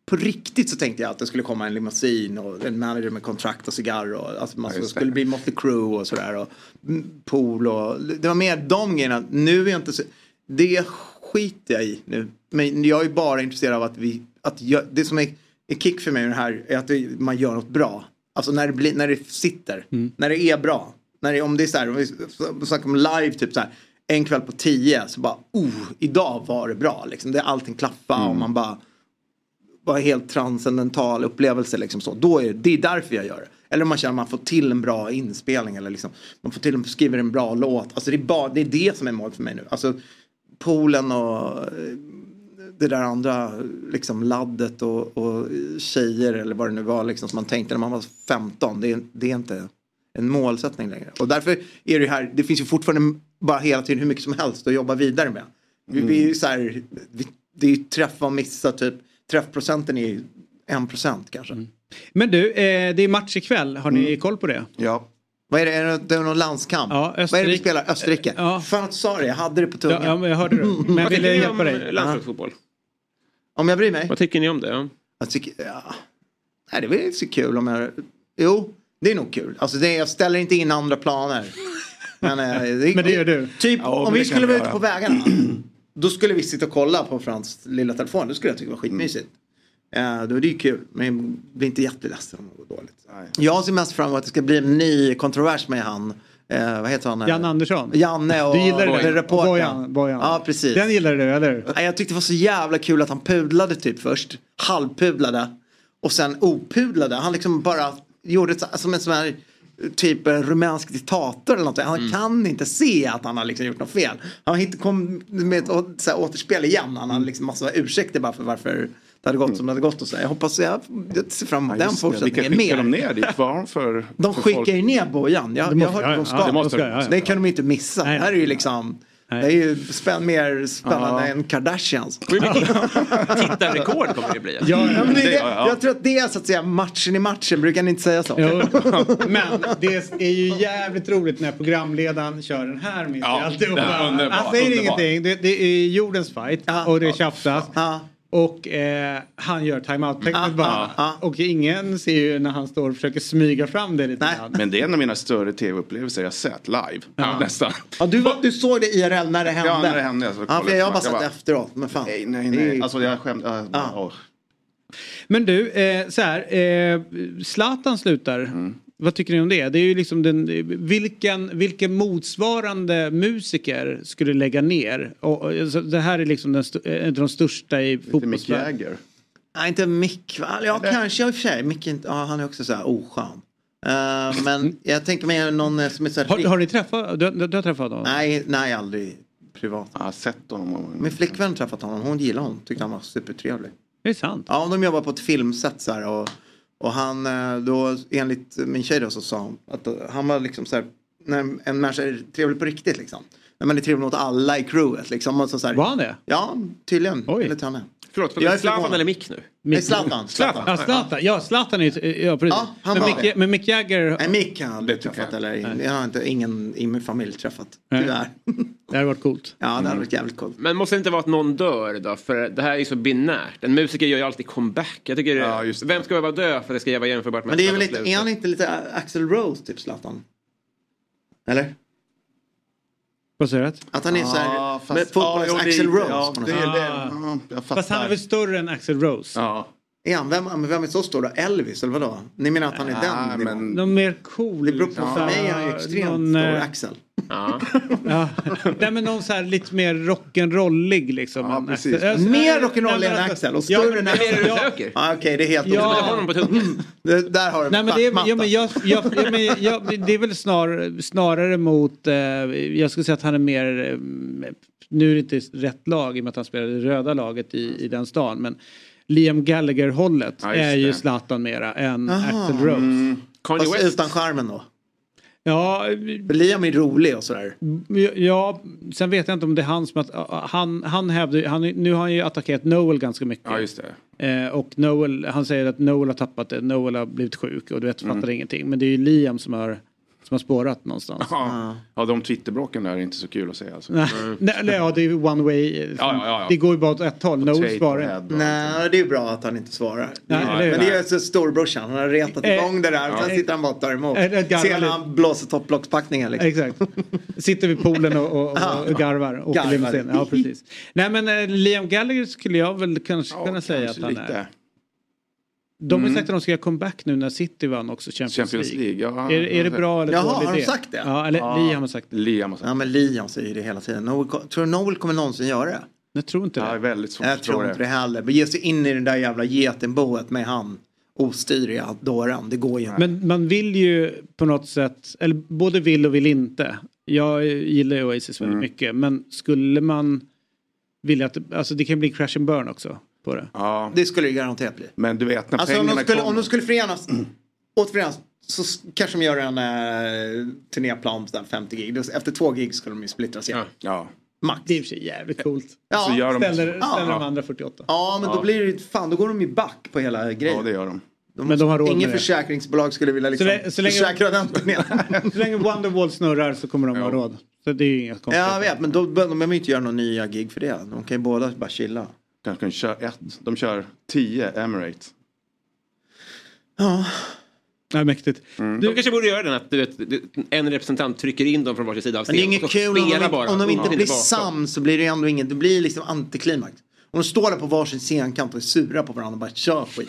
S4: På riktigt så tänkte jag att det skulle komma en limousin och en manager med kontrakt och cigarr. Och, alltså man
S8: Ja, just det.
S4: skulle bli Motley Crue och sådär. Och mm, pool och... Det var mer de grejerna. Nu är jag inte så... Det skiter jag i nu. Men jag är bara intresserad av att vi... Att jag, det som är en kick för mig med det här är att det, man gör något bra. Alltså när det, blir, när det sitter. När det är bra. När det, om det är så här, om vi snackar om live typ så här. En kväll på tio så bara, oh, idag var det bra liksom. Det, allting klaffade och man bara vara helt transcendental upplevelse. Liksom så. Då är det, det är därför jag gör det. Eller om man känner att man får till en bra inspelning eller liksom, man får till en, skriver en bra låt. Alltså det, är bara, det är det som är målet för mig nu. Alltså poolen och eh, det där andra liksom laddet och, och tjejer eller vad det nu var liksom, som man tänkte när man var 15. Det är, det är inte en målsättning längre. Och därför är det här, det finns ju fortfarande bara hela tiden hur mycket som helst att jobba vidare med. Vi, vi
S1: Mm.
S4: är ju så här, vi, det är ju träffa och missa typ. Träffprocenten är ju en procent kanske.
S1: Mm. Men du, eh, det är match ikväll. Har
S4: Mm.
S1: ni koll på det?
S4: Ja. Vad är det, är det, det är någon landskamp?
S1: Ja,
S4: Vad är det vi
S1: Österrike-
S4: spelar? Österrike? Fan att du sa det, jag hade det på tungan.
S1: Ja, ja, men jag hörde det. Men jag ville hjälpa dig.
S4: landslagsfotboll? Om jag bryr mig? Vad tycker ni om det? Jag tycker, ja. Nej, det är väl inte så kul om jag... Jo, det är nog kul. Alltså, det, jag ställer inte in andra planer. Men, eh,
S1: Men det gör du.
S4: Typ,
S1: Ja, men
S4: om
S1: det
S4: vi
S1: kan
S4: skulle
S1: vi
S4: vara ute
S1: göra.
S4: på vägarna. Då skulle vi sitta och kolla på Frans lilla telefon. Det skulle jag tycka var skitmysigt. Mm. då är det ju kul. Men jag blir inte jätteledsen om det går dåligt. Jag ser mest fram emot att det ska bli en ny kontrovers med han. Eh, vad heter han?
S1: Jan Andersson.
S4: Janne och
S1: Du gillar det?
S4: och reportern.
S1: Bojan, Bojan.
S4: Ja, precis. Den
S1: gillade du, eller
S4: Nej, jag tyckte det var så jävla kul att han pudlade typ först. Halvpudlade. Och sen opudlade. Han liksom bara gjorde ett, så- som en sån här typ en rumänsk diktator eller någonting.
S9: Mm.
S4: Han kan inte se att han har liksom gjort något fel. Han har inte kom med ett å- så här, återspel igen. Han har
S9: Mm.
S4: liksom massa ursäkter bara för varför det hade gått som det hade gått. Och så. här. Jag hoppas jag, jag ser fram emot den
S8: just det.
S4: fortsättningen
S8: Vilka skickar
S4: mer.
S8: de ner dit? Vad har de för...
S4: De
S8: för
S4: skickar
S8: folk?
S4: ju ner Bojan. Jag,
S8: Det måste-
S4: jag har hört
S8: ja,
S4: att de
S8: ja,
S4: ska.
S8: ja, det måste de. Ja, ja,
S4: det
S8: ja.
S4: kan de ju inte missa. det här är ju liksom. Det är ju spänn, mer spännande
S8: Ja.
S4: än Kardashians.
S9: Tittarrekord kommer det bli.
S1: Ja,
S4: Ja, men det är det,
S9: ja.
S4: jag tror att det är så att säga matchen i matchen, brukar ni inte säga så?
S1: Men det är ju jävligt roligt när programledaren kör den här mitt
S4: Ja,
S1: i alltihopa.
S4: det här är underbart,
S1: Han säger
S4: underbart.
S1: ingenting. Det, det är jordens fight och det tjafsas. Och eh, han gör timeout-tecknet bara. Och ingen ser ju när han står och försöker smyga fram det lite grann.
S8: Men det är en av mina större tv-upplevelser jag sett live. Nästan.
S4: Ja, du, var- du såg det IRL när det hände?
S8: Ja, när det hände.
S4: Så
S8: Så
S4: ja, för jag har bara
S8: Jag
S4: sett
S8: bara-
S4: efteråt, men fan.
S8: Nej, nej, nej. Alltså jag skämt. Äh, åh.
S1: Men du, eh, så här. Eh, Zlatan slutar.
S4: Mm.
S1: Vad tycker ni om det? Det är ju liksom den, vilken, vilken motsvarande musiker skulle lägga ner? Och, och, så det här är liksom den, st- en av de största i fotbollsvärlden.
S4: Nej, inte Mick va? Ja, kanske i och för sig. Mick är inte, ja, han är också så här oskön. Eh, men jag tänker mig någon eh, som är så här...
S1: Har, har ni träffat, du, du, du har träffat honom?
S4: Nej, nej, aldrig privat.
S8: Jag har sett honom.
S4: Min flickvän har träffat honom, hon gillar honom, tyckte han var supertrevlig.
S1: Det är sant.
S4: Ja, de jobbar på ett filmset så här och, och han eh, då enligt min tjej då så sa hon att eh, han var liksom så här när en människa är trevlig på riktigt liksom. När man är trevlig mot alla i crewet liksom. Och så, så här,
S1: Var han det?
S4: Ja, tydligen. Enligt henne.
S9: Förlåt,
S4: Jag är
S9: men Zlatan
S4: förvånad.
S9: eller Mick nu?
S4: Nej, Zlatan. Zlatan.
S1: Ja, Zlatan. Ja, Zlatan är ju- ja, precis.
S4: Ja, han
S1: men,
S4: var
S1: Mick,
S4: det.
S1: men Mick Jagger...
S4: Nej, Mick har jag aldrig träffat. Eller, jag har inte, ingen i min familj träffat.
S1: Nej. Mm.
S4: Tyvärr.
S1: Det hade varit coolt.
S4: Ja, det hade varit jävligt coolt.
S9: Men måste det inte vara att någon dör då? För det här är ju så binärt. En musiker gör ju alltid comeback. Jag tycker Vem ska behöva dö för att det ska vara jämförbart med
S4: Men det är
S9: att
S4: väl
S9: Zlatan
S4: inte, är han inte lite Axel Rose typ Zlatan? Eller?
S1: Vad säger du?
S4: Att han är så här,
S8: Ja, fast-
S4: med fotbollens
S8: ja, jo, det-
S4: Axel Rose.
S8: ja,
S4: på något
S8: det är
S4: sätt.
S8: det. Ja, jag fattar.
S1: Fast han är väl större än Axel Rose?
S8: Ja.
S4: Är han, vem, men vem är så stor då? Elvis eller vadå? Ni menar att han är
S1: Ja,
S4: den nivån?
S1: Någon mer cool...
S4: Det beror på,
S1: så
S4: för
S1: här,
S4: mig är han ju extremt
S1: någon,
S4: stor
S1: eh,
S4: Axel.
S1: Ja. Nej men någon så här lite mer rock'n'rollig liksom. än
S4: precis.
S1: Axel. Alltså,
S4: Mer
S1: nej,
S4: rock'n'roll
S1: nej,
S4: än
S1: men alltså-
S4: Axel och
S1: Ja,
S4: större
S1: men-
S4: än Axel.
S1: Ja.
S4: Ah, Okej, det är helt
S1: Ja.
S4: otroligt.
S1: Jag har honom på
S4: Mm. Det- Där har du
S1: Nej, men det, är,
S4: schackmatta.
S1: ja, men jag, jag, ja, men jag, jag, det är väl snar, snarare mot, eh, jag skulle säga att han är mer, eh, nu är det inte rätt lag i och med att han spelade i röda laget i, i den stan, men Liam Gallagher-hållet
S4: Ja, just
S1: är ju
S4: det.
S1: Zlatan mera än
S4: Aha.
S1: Axel Rose.
S4: Mm. Fast
S1: West.
S4: utan charmen då?
S1: Ja,
S4: Liam är rolig och sådär.
S1: Ja, sen vet jag inte om det är han som att, han, han hävdar ju- han, nu har han ju attackerat Noel ganska mycket.
S8: Ja, just det.
S1: Eh, och Noel, han säger att Noel har tappat det, Noel har blivit sjuk och du vet, fattar
S8: Mm.
S1: ingenting. Men det är ju Liam som har, som har spårat någonstans.
S8: Ja. ja, de twitterbråken där är inte så kul att se alltså.
S1: Nej, nej, nej, ja, det är ju one way.
S8: Ja,
S1: eh,
S8: ja, ja, ja.
S1: Det går ju bara åt ett håll, Noel
S8: Tate och
S1: svarar
S8: Head.
S1: inte.
S4: Nej, det är bra att han inte svarar.
S1: Nej,
S4: Ja,
S1: eller hur?
S4: men det är ju så storbrorsan, han har retat
S1: Eh,
S4: igång det där. Sen
S1: ja.
S4: sitter han bara och tar emot.
S1: Eh, det garvar
S4: Ser när
S1: lite.
S4: han blåser topplockspackningen liksom.
S1: Exakt. Sitter vid poolen och, och, och, och garvar.
S4: Garvar.
S1: Och garvar. Limousin. Ja, precis. Nej, men eh, Liam Gallagher skulle jag väl kanske kunna säga att han är. De har
S8: Mm.
S1: sagt att de ska göra comeback nu när City vann också Champions,
S8: Champions League. ja.
S1: är, är det bra eller
S4: Jaha,
S1: dålig
S4: har de
S1: idé?
S4: sagt det?
S1: Ja, eller Liam har sagt
S8: Liam har
S4: Ja, men Liam säger ju det hela tiden. Noel, ko- tror du Noel kommer någonsin göra det?
S1: Jag tror inte det.
S4: är väldigt
S1: svårt
S4: jag
S1: att förstå
S4: tror inte
S1: det.
S4: det heller. Men ge sig in i det där jävla getingboet med han ostyriga dåren. Det går ju inte.
S1: Men man vill ju på något sätt, eller både vill och vill inte. Jag gillar ju Oasis väldigt
S4: Mm.
S1: mycket men skulle man vilja att, det- alltså det kan bli crash and burn också på det.
S8: Ja.
S4: Det skulle det garanterat bli.
S8: Men du vet när
S4: Alltså om
S8: pengarna
S4: de, skulle,
S8: kommer.
S4: om de skulle förenas, återförenas, så s- kanske de gör en eh, turnéplan på 50 gig. Då- Efter två gig skulle de ju splittras igen.
S8: Ja.
S4: Max.
S1: Det är i och för sig jävligt coolt.
S4: Ja.
S1: Så gör de- Ställer-
S4: Ja.
S1: ställer de andra 48.
S4: Ja, men
S1: Ja.
S4: då blir det ju- fan då går de ju back på hela grejen.
S1: Ja,
S4: det
S8: gör de.
S1: Men de har råd med
S4: Ingen
S1: det.
S4: försäkringsbolag skulle vilja liksom
S1: Så lä- så länge-
S4: försäkra den turnén.
S1: Så länge Wonderwall snurrar så kommer de ha råd. Så det är ju inga konstigheter.
S4: Ja, jag vet, men då behöver de behöver ju inte göra några nya gig för det. De kan ju båda bara chilla.
S8: Kanske kan köra ett. De kör tio Emirates.
S4: Ja.
S1: Nej, mäktigt.
S4: Mm.
S9: De kanske borde göra den att du vet, du- en representant trycker in dem från varsin sida av
S4: Men det är
S9: scenen.
S4: inget
S9: och så
S4: kul om de,
S9: spelar
S4: inte-
S9: bara.
S4: om de inte
S9: Ja.
S4: blir
S9: bakom.
S4: sams så blir det ändå inget, det blir liksom antiklimax. Om de står där på varsin scenkant och är sura på varandra och bara kör skit.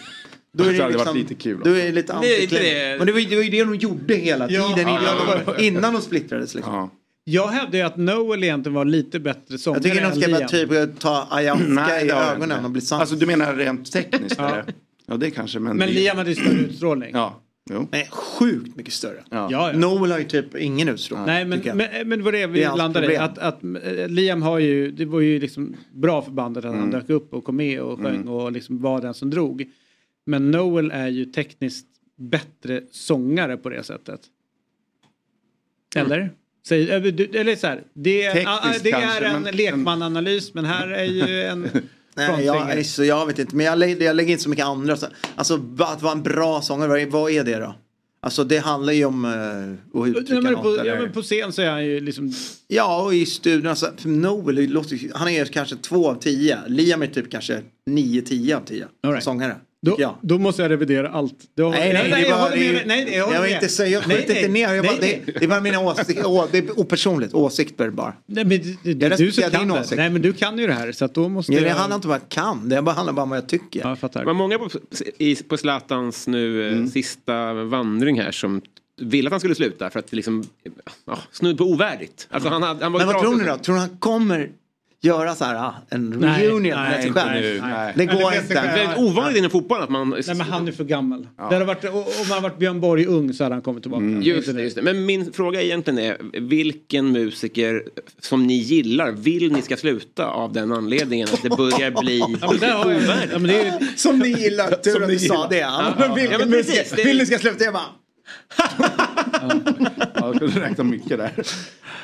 S4: Då är det,
S8: Det hade
S4: liksom,
S8: varit lite kul
S4: Då är det lite
S8: också. Det är inte
S4: antiklimax.
S8: det-
S4: Men det var, ju, det var ju det de gjorde hela
S1: Ja.
S4: tiden
S1: Ja,
S4: innan,
S1: ja, ja.
S4: De, innan de splittrades. Liksom.
S1: Jag hävdar ju att Noel egentligen var lite bättre
S4: Jag
S1: sångare
S4: tycker de ska
S1: än
S4: bara
S1: Liam.
S4: typ ta ayahuasca
S1: Nej,
S4: i
S1: det har jag
S4: ögonen
S1: inte.
S4: och bli sams.
S8: Alltså du menar rent tekniskt eller? Ja det kanske men.
S1: Men
S8: det-
S1: Liam hade ju större utstrålning.
S8: Ja. Jo.
S4: Nej, sjukt mycket större.
S8: Ja.
S1: Ja, ja.
S4: Noel har ju typ ingen utstrålning.
S1: Nej men, eh,
S4: tycker jag.
S1: men, men det var det vi
S4: Det är hans
S1: landade i.
S4: problem.
S1: Att, att eh, Liam har ju, det var ju liksom bra för bandet att han
S4: Mm.
S1: dök upp och kom med och sjöng
S4: Mm.
S1: och liksom var den som drog. Men Noel är ju tekniskt bättre sångare på det sättet. Eller? Säg, eh, du- eller så här, det,
S4: Mm.
S1: är-
S4: Tekniskt
S1: ah, ah, det är
S4: kanske,
S1: en
S4: men-
S1: lekmananalys men här är ju en
S4: Nej, jag,
S1: frontfinger.
S4: så jag vet inte, men jag lägger, jag lägger inte så mycket andra. så- Alltså bara att vara en bra sångare, vad är- vad är det då? Alltså det handlar ju om eh, att uttrycka
S1: Ja, men
S4: något.
S1: på,
S4: eller?
S1: ja, men på scen så är han ju liksom...
S4: Ja, och i studion. Alltså, för Noel det låter, ju- han är kanske två av tio. Liam är typ kanske nio, tio av tio
S1: All right.
S4: sångare.
S1: Då, då måste jag revidera allt. Då,
S4: Nej, nej, det
S1: jag
S4: var-
S1: håller med
S4: det-
S1: dig. nej, nej, jag håller
S4: jag vill
S1: med.
S4: inte säga, jag
S1: Nej,
S4: skjuter inte
S1: nej,
S4: ner. Jag bara,
S1: nej, nej.
S4: det, det är bara mina åsikter. Å, det är opersonligt, åsikter bara.
S1: Nej, men det, det,
S4: Jag
S1: det är du som
S4: respekterar
S1: kan
S4: din
S1: det.
S4: åsikt.
S1: Nej, men du kan ju det här så att då måste
S4: Ja, det
S1: jag...
S4: handlar inte om vad jag kan, det bara handlar bara om vad jag tycker.
S1: Ja, jag fattar.
S9: Det var många på, i, på Zlatans nu eh,
S8: Mm.
S9: sista vandring här som ville att han skulle sluta för att det liksom, ja, snudd på ovärdigt. Alltså han, hade, han var
S4: Men vad
S9: gratis-
S4: tror ni då? Tror ni han kommer göra så här ah, en reunion med sig själv? Det går inte.
S1: Det är väldigt
S9: ovanligt inom fotbollen att man... Nej
S1: men han är för gammal.
S9: Ja.
S1: Det hade varit, o- om han varit Björn Borg ung så hade han kommit tillbaka.
S4: Mm.
S9: Just det, just det. Men min fråga egentligen är vilken musiker som ni gillar vill ni ska sluta av den anledningen att det börjar bli
S1: Ja, men där har jag-
S9: ovärdigt?
S1: ja, men det är-
S4: Som ni gillar, tur
S9: Som
S4: att
S9: ni
S4: du sa
S9: gillar.
S4: det.
S9: Ja,
S4: Men
S9: ja,
S4: vilken
S9: ja, men precis,
S4: musik-
S9: det-
S4: Vill ni ska sluta? Jag bara,
S8: Ja, jag kunde räkna mycket där.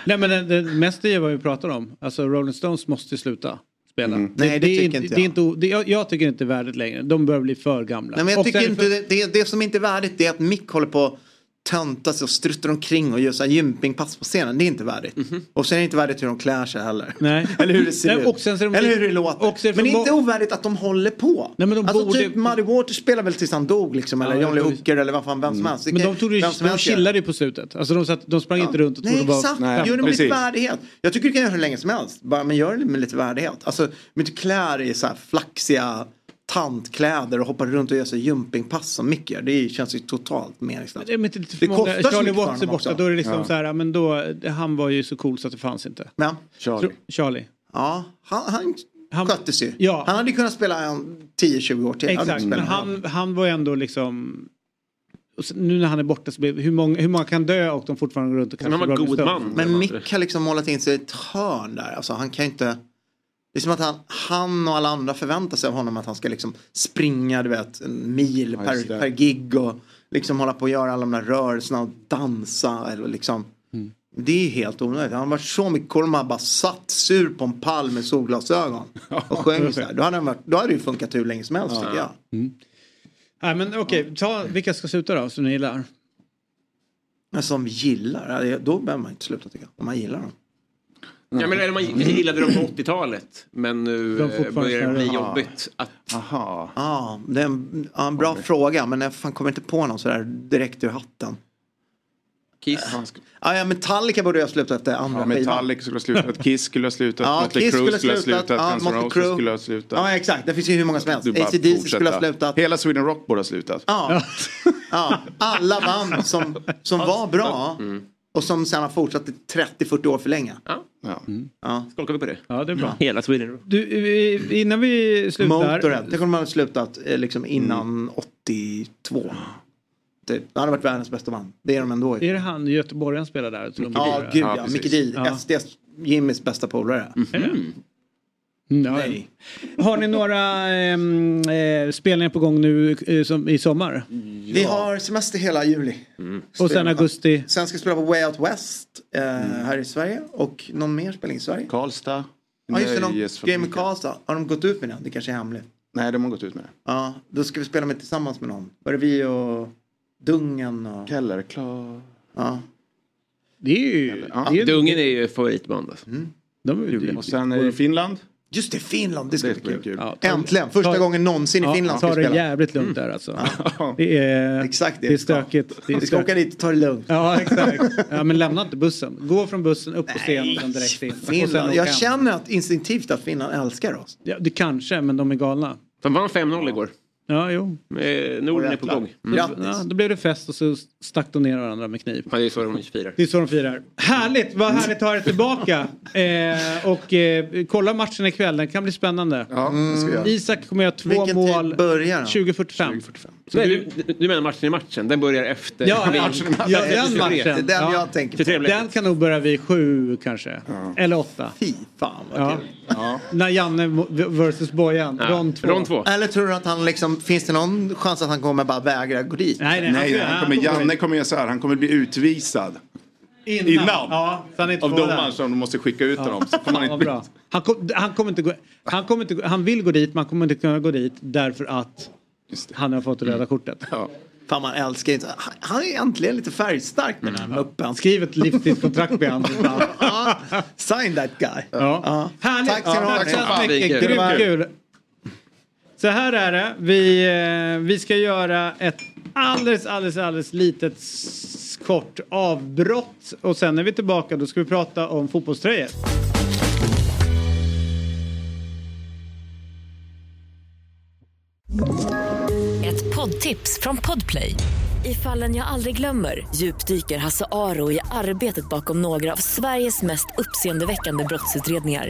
S1: Nej, men det, det mest är vad vi pratar om. Alltså Rolling Stones måste sluta spela.
S4: Mm. Nej, det tycker inte
S1: är, Det är
S4: jag.
S1: inte, o- det, jag, jag tycker inte det är värdigt längre. De börjar bli för gamla.
S4: Nej, men jag
S1: Och
S4: tycker
S1: sen
S4: inte, det, det, det som inte är värdigt det är att Mick håller på att tönta sig och struttar omkring och gör så här gympingpass på scenen. Det är inte värdigt. Och sen är det inte värdigt hur de klär sig heller.
S1: Mhm. Nej.
S4: Eller hur det ser
S1: Nej,
S4: ut.
S1: och sen så är de-
S4: Eller hur det låter.
S1: och så är de-
S4: men det är inte ovärdigt att de håller på.
S1: Nej, men de
S4: alltså
S1: borde-
S4: typ Muddy Waters spelade väl tills han dog liksom. Eller
S1: Ja,
S4: John Lee
S1: det-
S4: Hooker eller vad fan, vem som helst. Det
S1: Men
S4: kan-
S1: de, tog det,
S4: vem som
S1: de
S4: helst gör.
S1: chillade ju på slutet. Alltså de, satt, de sprang inte runt och trodde
S4: Nej
S1: det var...
S4: exakt, gör det med lite värdighet. Jag tycker du kan göra hur länge som helst. Bara, men gör det med lite värdighet. Alltså, om inte klär i så här flaxiga tantkläder och hoppar runt och gör så här jumpingpass som Mick gör. Det känns ju totalt meningslöst.
S1: Det, men inte för många,
S4: så
S1: Charlie
S4: mycket för
S1: Watts är
S4: honom
S1: borta.
S4: också.
S1: Då är det liksom så här, ja, men då, han var ju så cool så att det fanns inte.
S4: Men?
S1: Charlie. Charlie.
S4: Ja, han, han, skötte sig ju.
S1: Ja.
S4: Han hade ju kunnat spela en 10-20 år till. Han hade
S1: Exakt,
S4: inte
S1: men
S4: spelat någon roll.
S1: han, han var ju ändå liksom... och sen- Nu när han är borta så blir hur många, hur många kan dö och de fortfarande går runt och kastar Rolling Stones?
S4: Men Mick har liksom målat in sig i ett hörn där. Alltså han kan ju inte... Det är som att han, han och alla andra förväntar sig av honom att han ska liksom springa du vet, en mil
S8: Ja,
S4: per,
S8: just det.
S4: per gig och liksom hålla på och göra alla de där rörelserna och dansa. Eller liksom.
S8: Mm.
S4: Det är helt onödigt. Han var så mycket cool om han bara satt sur på en pall med solglasögon och sjöng så här. Då hade, han varit, då hade det ju funkat hur länge som helst tycker jag.
S1: Mm. Nej, men okej, ta vilka ska sluta då som ni gillar?
S4: Men som gillar, ja, då behöver man inte sluta tycka. Om man gillar dem.
S9: Ja, men, eller man gillade dem på 80-talet men nu
S4: De fortfarande
S9: eh, börjar det bli
S4: snarare-
S9: jobbigt. Att,
S8: Aha.
S4: Ja, det är en, ja, en bra fråga men jag fan kommer inte på någon sådär direkt ur hatten.
S9: Kiss.
S4: Ja, ja, Metallica borde jag sluta efter andra
S8: Ja,
S4: skivan.
S8: Metallica skulle ha slutat, Kiss skulle ha slutat,
S4: Ja,
S8: Mötley
S4: Kiss
S8: Crüe
S4: skulle ha
S8: skulle ha
S4: slutat,
S8: slutat, Guns
S4: ja,
S8: N'
S4: Mötley
S8: Roses
S4: Crüe.
S8: skulle ha slutat.
S4: Ja exakt, det finns ju hur många som helst.
S8: Du bara
S4: AC/DC skulle ha
S8: fortsätta.
S4: slutat.
S8: Hela Sweden Rock borde ha slutat.
S4: Ja. ja, alla band som, som var bra. Och som sen har fortsatt i 30-40 år för länge.
S9: Ja.
S8: Ja.
S9: Mm. Skakar vi på det?
S1: Ja, det är bra.
S9: Hela Sweden.
S1: Du, innan vi slutar.
S4: Motorhead, tänk om de hade slutat eh, liksom innan 82. Typ. Det hade varit världens bästa band. Det är de ändå.
S1: Är det han göteborgaren spelar där? Tror de
S4: Ja,
S1: blir-
S4: gud ja.
S1: precis.
S4: Micke Dee,
S1: Ja.
S4: SDs, Jimmys bästa polare.
S1: Mm, ja. Har ni några ehm, eh, spelningar på gång nu eh, som, i sommar?
S4: Vi har semester hela juli.
S1: Och sen augusti?
S4: Sen ska vi spela på Way Out West eh, här i Sverige och någon mer spelning i Sverige.
S8: Karlstad.
S4: Ja just det, de,
S8: Nöjesfabriken.
S4: Game Karlstad. Har de gått ut med den? Det kanske är hemligt.
S8: Nej, de har gått ut med det.
S4: Ja, då ska vi spela med tillsammans med någon. Var det vi och Dungen och...
S8: Keller, klar.
S4: Ja.
S1: Det är ju...
S9: Dungen är ju favoritband. Alltså.
S8: Och sen är det i Finland.
S4: Just det, Finland. Det ska
S8: Det
S4: bli
S8: blir
S4: kul.
S8: kul.
S1: Ja, ta-
S4: Äntligen, första
S1: ta-
S4: gången någonsin i Finland ska
S1: ta
S4: vi
S1: det
S4: spela.
S1: jävligt lugnt där alltså. Det är,
S4: Exakt det
S1: det är
S4: vi ska.
S1: stökigt. Det är
S4: Vi ska
S1: stökigt.
S4: åka dit och ta det lugnt.
S1: Ja, exakt. Ja, men lämna inte bussen. Gå från bussen, upp på scenen och sen direkt in. Och sen
S4: Finland.
S1: åka
S4: Jag
S1: hem.
S4: känner att instinktivt att Finland älskar oss.
S1: Ja, det kanske, men de är galna.
S9: De vann 5-0 igår.
S1: Ja, jo.
S9: Eh, Norden är på gång.
S1: Då- Ja, då blev det fest och så stack de ner varandra med kniv.
S9: Ja, det är så de firar.
S1: Det är så de firar. Härligt, vad härligt att ha er tillbaka. Eh, och eh, kolla matchen ikväll, den kan bli spännande.
S8: Ja, det ska jag göra.
S1: Isak kommer göra två mål 2045.
S8: 2045.
S9: Nej, du, du menar matchen i matchen? Den börjar efter...
S1: Ja,
S9: vi-
S1: ja, ja, den matchen. Ja. Den kan nog börja vid sju kanske. Eller åtta.
S4: Fy fan vad
S1: Ja.
S4: kul.
S1: När Janne mo- versus Bojan, rond två.
S4: Eller tror du att han liksom, finns det någon chans att han kommer bara vägra gå dit?
S1: Nej,
S8: Nej, nej, han kommer, Janne kommer göra så här, han kommer bli utvisad.
S1: Innan.
S8: Innan.
S1: Ja, så han är inte
S8: Av
S1: får
S8: domaren
S1: den.
S8: som de måste skicka ut honom. Så får man
S1: Fan,
S8: inte
S1: vad bra. Han, kom, han kommer inte gå... Han, kommer inte, gå- han vill gå dit, men han kommer inte kunna gå dit därför att han har fått det röda kortet.
S4: Fan man älskar inte. Han- Han är egentligen lite färgstark den här muppen.
S1: Skriv ett livstidskontrakt med honom.
S4: Ja, Sign that guy.
S1: Ja. Härligt!
S4: Tack ska ni ha.
S1: Tack så
S4: Fan,
S1: hemskt mycket.
S4: vilken
S1: Grymt
S4: kul.
S1: kul. Så här är det. Vi, eh, vi ska göra ett alldeles, alldeles, alldeles litet s- kort avbrott. Och sen när vi är tillbaka då ska vi prata om fotbollströjor.
S7: Ett poddtips från Podplay. I fallen jag aldrig glömmer djupdyker Hasse Aro i arbetet bakom några av Sveriges mest uppseendeväckande brottsutredningar.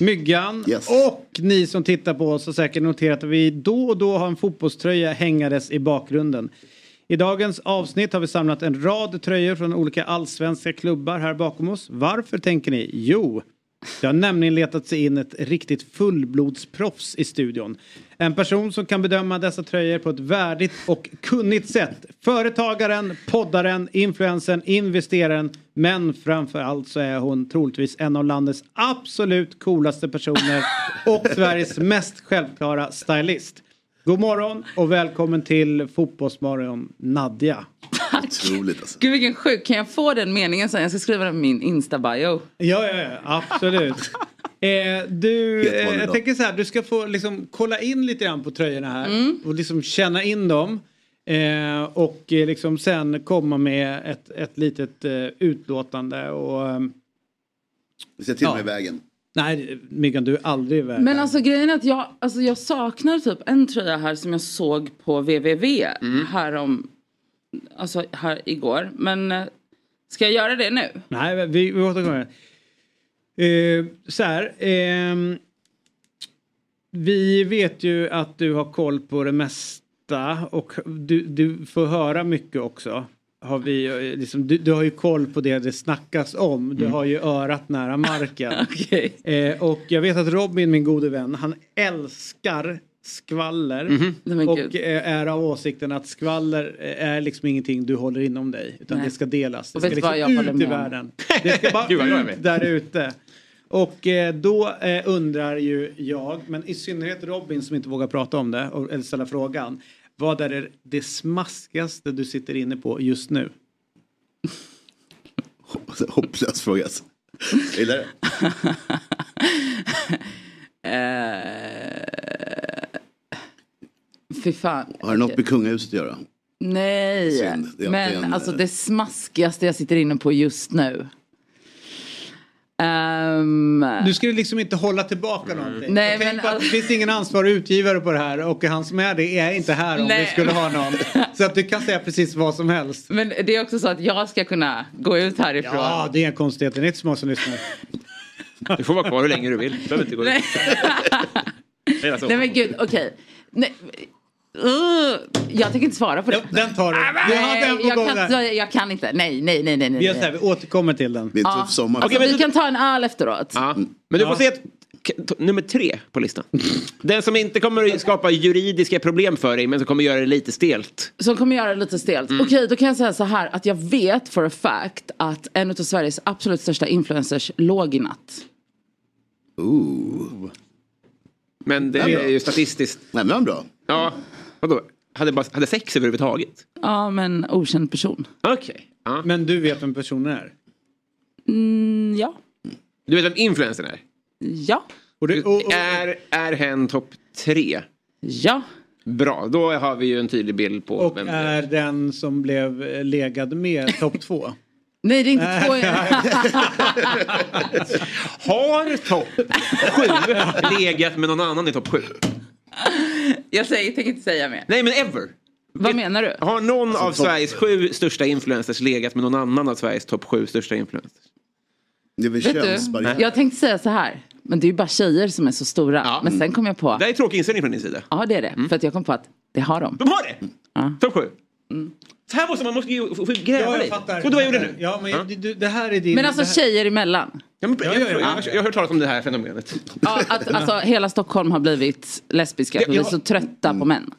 S1: Myggan och ni som tittar på oss har säkert noterat att vi då och då har en fotbollströja hängandes i bakgrunden. I dagens avsnitt har vi samlat en rad tröjor från olika allsvenska klubbar här bakom oss. Varför tänker ni? Jo, det har nämligen letat sig in ett riktigt fullblodsproffs i studion. En person som kan bedöma dessa tröjor på ett värdigt och kunnigt sätt. Företagaren, poddaren, influensen, investeraren. Men framför allt så är hon troligtvis en av landets absolut coolaste personer och Sveriges mest självklara stylist. God morgon och välkommen till Fotbollsmorgon Nadja.
S2: Otroligt alltså.
S10: Gud vilken sjuk. Kan jag få den meningen sen? Jag ska skriva den i min Insta-bio.
S1: Ja, ja, ja absolut. Eh, du,
S10: Helt
S1: eh,
S10: vanlig
S1: jag
S10: dag.
S1: tänker så här, du ska få liksom kolla in lite grann på tröjorna här
S10: Mm.
S1: och liksom känna in dem. Eh, och eh, liksom sen komma med ett, ett litet eh, utlåtande och... ehm,
S2: Vi ser till och med vägen.
S1: nej, Myggan, du är aldrig i vägen.
S10: Men alltså grejen är att jag, alltså, jag saknar typ en tröja här som jag såg på VVV här om, alltså här igår. Men eh, ska jag göra det nu?
S1: Nej, men vi, vi återkommer. Eh, så här. ehm, vi vet ju att du har koll på det mesta och du, du får höra mycket också. Har vi, eh, liksom, du, du har ju koll på det det snackas om. Du
S10: Mm.
S1: har ju örat nära marken. eh, och jag vet att Robin, min gode vän, han älskar skvaller.
S10: Mhm. Nej, men
S1: Och
S10: gud.
S1: eh, är av åsikten att skvaller eh, är liksom ingenting du håller inom dig. Utan
S10: Nej.
S1: det ska delas. Det
S10: Och
S1: ska
S10: vet du
S1: liksom
S10: vad jag håller
S1: ut i
S10: med om?
S1: världen. Det ska bara
S9: Gud, vad glad jag
S1: ut
S9: blir.
S1: där ute. Och eh, då eh, undrar ju jag, men i synnerhet Robin som inte vågar prata om det och, eller ställa frågan. Vad är det, det smaskigaste du sitter inne på just nu?
S2: Hopplös fråga alltså. Jag gillar det.
S10: Eh, Fy fan.
S2: Har det något med kungahuset att göra?
S10: Nej,
S2: Synd. Det är alltid
S10: men
S2: en,
S10: alltså
S2: eh,
S10: det smaskigaste jag sitter inne på just nu. Ehm,
S1: Nu ska du liksom inte hålla tillbaka
S9: Mm.
S1: någonting.
S10: Nej,
S1: Nej, men, på att det finns ingen ansvarig utgivare på det här och han som är det är inte här om vi
S10: Nej.
S1: skulle ha någon. Så att du kan säga precis vad som helst.
S10: men det är också så att jag ska kunna gå ut härifrån.
S1: Ja, det är en konstighet. Det är inte så många som lyssnar.
S3: Du får vara kvar hur länge du vill. Du behöver inte gå
S10: Nej. Nej men gud, okej. Nej. Uh, jag tänker inte svara på det. Ah,
S1: Den tar du. Vi har den på
S10: jag,
S1: gång
S10: kan,
S1: där.
S10: inte- jag kan inte. Nej, nej, nej, nej. nej.
S1: Vi gör så här, vi återkommer till den.
S2: Det
S10: Ja. Alltså, vi kan ta en öl efteråt.
S3: Ja. Men du får se ett, k- t- nummer tre på listan. Den som inte kommer att skapa juridiska problem för dig men som kommer göra det lite stelt.
S10: Som kommer göra det lite stelt.
S3: Mm.
S10: Okej, då kan jag säga så här att jag vet for a fact att en av Sveriges absolut största influencers låg i natt.
S2: Ooh.
S3: Men det
S10: Den är
S3: är
S10: bra.
S3: ju statistiskt.
S2: Nej, men bra.
S3: Ja, vadå? Hade, bara, hade sex överhuvudtaget?
S10: Ja, men okänd person.
S3: Okej.
S1: Men du vet vem personen är?
S10: Mm, ja.
S3: Du vet vem influencern är?
S10: Ja.
S1: Äh,
S3: Är, är hen topp tre?
S10: Ja.
S3: Bra, då har vi ju en tydlig bild på
S1: Och eh,
S3: vem
S1: är den som blev eh, legad med topp två?
S10: Nej, det är inte två.
S3: Har topp sju legat med någon annan i topp sju?
S10: jag säger, tänker inte säga mer.
S3: Nej men ever!
S10: Vad menar du?
S3: Har någon
S10: Alltså,
S3: av
S10: topp-
S3: Sveriges sju största influencers legat med någon annan av Sveriges topp sju största influencers?
S2: Det är väl
S10: Vet du, jag tänkte säga så här. Men det är ju bara tjejer som är så stora. Men sen kom jag på.
S3: Det här är tråkig inställning från din sida.
S10: Ja, det är det. För att jag kom på att det har de.
S3: De har det!
S10: Ja.
S3: Topp sju? Så här måste man måste ju få- få gräva
S1: Ja, jag
S3: lite.
S1: fattar.
S3: Och du vad jag gjorde nu?
S1: Ja, men du- du, det här är din...
S10: Men alltså
S1: det här...
S10: tjejer emellan.
S3: Ja, men, jag, jag, jag,
S10: ja.
S3: jag har hört talas om det här fenomenet.
S10: Ja, att, alltså, hela Stockholm har blivit lesbiska för
S3: Ja,
S10: vi är
S3: ja.
S10: så trötta på män.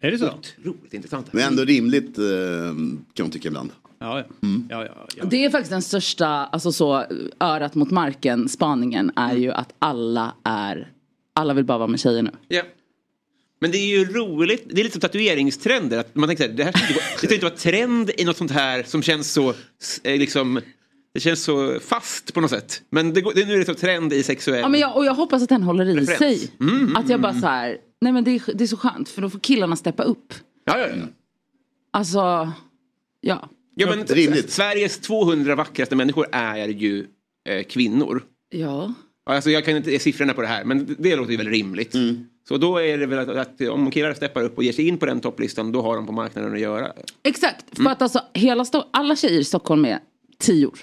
S1: Är det så?
S10: Mm.
S3: Otroligt intressant.
S2: Men ändå rimligt eh, kan man tycka ibland.
S1: Ja, ja, ja,
S10: Det är faktiskt den största, alltså så örat mot marken spaningen är ju att alla är, alla vill bara vara med tjejer nu.
S3: Ja. Men det är ju roligt, det är lite som tatueringstrender. Att man tänker så här, det här ska inte, vara, det ska inte vara trend i något sånt här som känns så, eh, liksom, det känns så fast på något sätt. Men det, går- det, nu är det så trend i sexuell...
S10: Ja, men jag, och jag hoppas att den håller i
S3: Referens.
S10: sig.
S3: Mm, mm,
S10: att jag bara
S3: mm.
S10: så här, nej men det är, det är så skönt för då får killarna steppa upp.
S3: Ja, ja, ja.
S2: Mm.
S10: Alltså, ja.
S3: ja men, s- Sveriges 200 vackraste människor är ju eh, kvinnor.
S10: Ja.
S3: Ja, Alltså, jag kan inte se siffrorna på det här, men det- det låter ju väl rimligt. Så då är det väl att, att om killar steppar upp och ger sig in på den topplistan, då har de på marknaden att göra.
S10: Exakt, för att alltså hela Sto- alla tjejer i Stockholm är tior.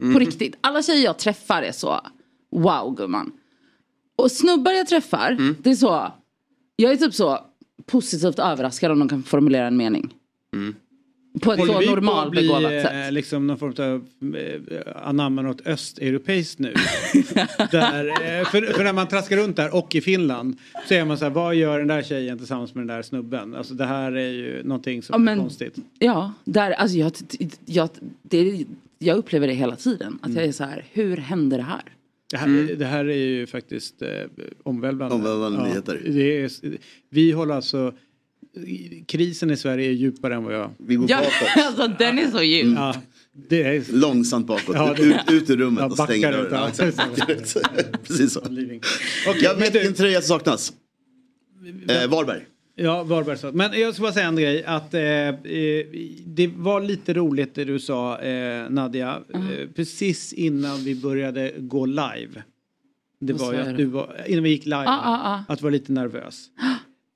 S1: Mm.
S10: På riktigt. Alla tjejer jag träffar är så, wow gumman. Och snubbar jag träffar,
S1: Mm.
S10: det är så, jag är typ så positivt överraskad om de kan formulera en mening. På ett så
S1: Håller vi Mm. på att
S10: normalbegåvat
S1: bli, eh,
S10: sätt.
S1: liksom någon form av eh, anamma något östeuropeiskt nu. där, eh, för, för när man traskar runt där och i Finland så är man så här, vad gör den där tjejen tillsammans med den där snubben? Alltså det här är ju någonting som
S10: Ja, men-
S1: är konstigt.
S10: Ja, där, alltså jag, jag, det, jag upplever det hela tiden. Att jag är så här, hur händer det här?
S1: Det här, det här är ju faktiskt eh, omvälvande.
S2: Mm. Omvälvande nyheter.
S1: Det är, vi håller alltså, krisen i Sverige är djupare än vad Mm. jag...
S2: Vi går
S10: Ja,
S2: bakåt.
S10: alltså den är så djup.
S1: Ja, det är...
S2: Långsamt bakåt.
S1: Ja, det-
S2: ut, ut ur rummet
S1: Ja,
S2: och stäng
S1: backar ut,
S2: dörren. Ja,
S1: ja.
S2: exakt. Precis så. jag vet vilken tröja som saknas. Eh, Varberg.
S1: Ja, Varberg sa Men jag ska bara säga en grej. Att, eh, eh, det var lite roligt det du sa, eh, Nadja. Eh, precis innan vi började gå live. Det
S10: Vad
S1: var ju
S10: sa
S1: att
S10: jag
S1: du
S10: då?
S1: var, innan vi gick live,
S10: Ah, ah,
S1: att du var lite nervös.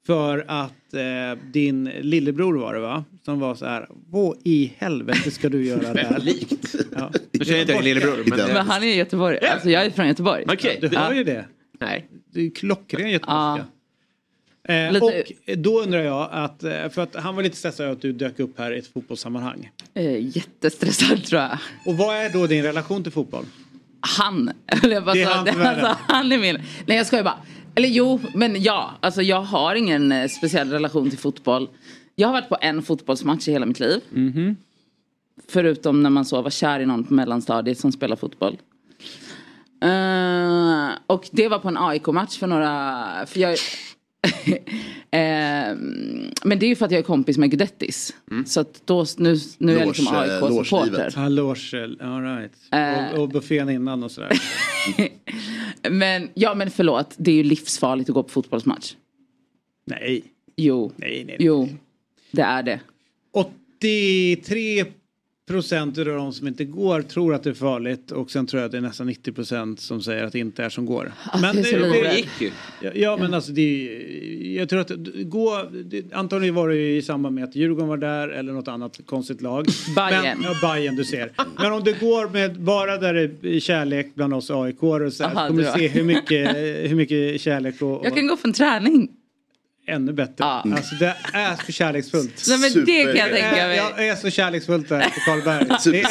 S1: För att eh, din lillebror var det va? Som var så här, vad i helvete ska du göra där?
S3: Likt.
S1: Ja.
S3: Nu känner inte jag din lillebror. Men,
S10: Men han är i Göteborg, alltså jag är från Göteborg.
S3: Okej,
S1: Du hör ju det.
S3: Nej.
S1: Du är klockren göteborgska. Eh,
S10: Lite-
S1: och då undrar jag att, eh, för att han var lite stressad över att du dök upp här i ett fotbollssammanhang.
S10: Eh, jättestressad tror jag.
S1: Och vad är då din relation till fotboll?
S10: Han, höll jag bara
S1: Det är
S10: säga.
S1: han som är
S10: alltså, han är min. Nej jag skojar bara. Eller jo, men ja. Alltså jag har ingen eh, speciell relation till fotboll. Jag har varit på en fotbollsmatch i hela mitt liv.
S1: Mhm.
S10: Förutom när man så var kär i någon på mellanstadiet som spelar fotboll. Eh, och det var på en AIK-match för några... För jag, Eh, men det är ju för att jag är kompis med Gudettis.
S1: Mm.
S10: Så att då, nu, nu är jag liksom AIK-supporter.
S1: Ja, loge, eh, all right.
S10: Eh.
S1: Och, och buffén innan och sådär.
S10: Men, ja men förlåt, det är ju livsfarligt att gå på fotbollsmatch.
S1: Nej.
S10: Jo.
S1: Nej, nej.
S10: Jo, det är det.
S1: 83 procent av de som inte går tror att det är farligt och sen tror jag att det är nästan 90 procent som säger att det inte är som går.
S10: det är så lite. Det
S1: gick ju. Ja, ja men alltså det är- jag tror att d- gå, det, antagligen var det ju i samband med att Djurgården var där eller något annat konstigt lag.
S10: Bayern.
S1: Men, ja, Bayern du ser. Men om du går med bara där det är kärlek bland oss AIK och så, här,
S10: Aha,
S1: så kommer
S10: du
S1: du
S10: har-
S1: se hur mycket, hur mycket kärlek och,
S10: Jag
S1: och
S10: kan gå på en träning.
S1: ännu bättre. Alltså det är så kärleksfullt.
S10: Nej, men det kan jag
S1: Super.
S10: tänka mig.
S1: Eh, Jag är så kärleksfullt där på Karlberg. Det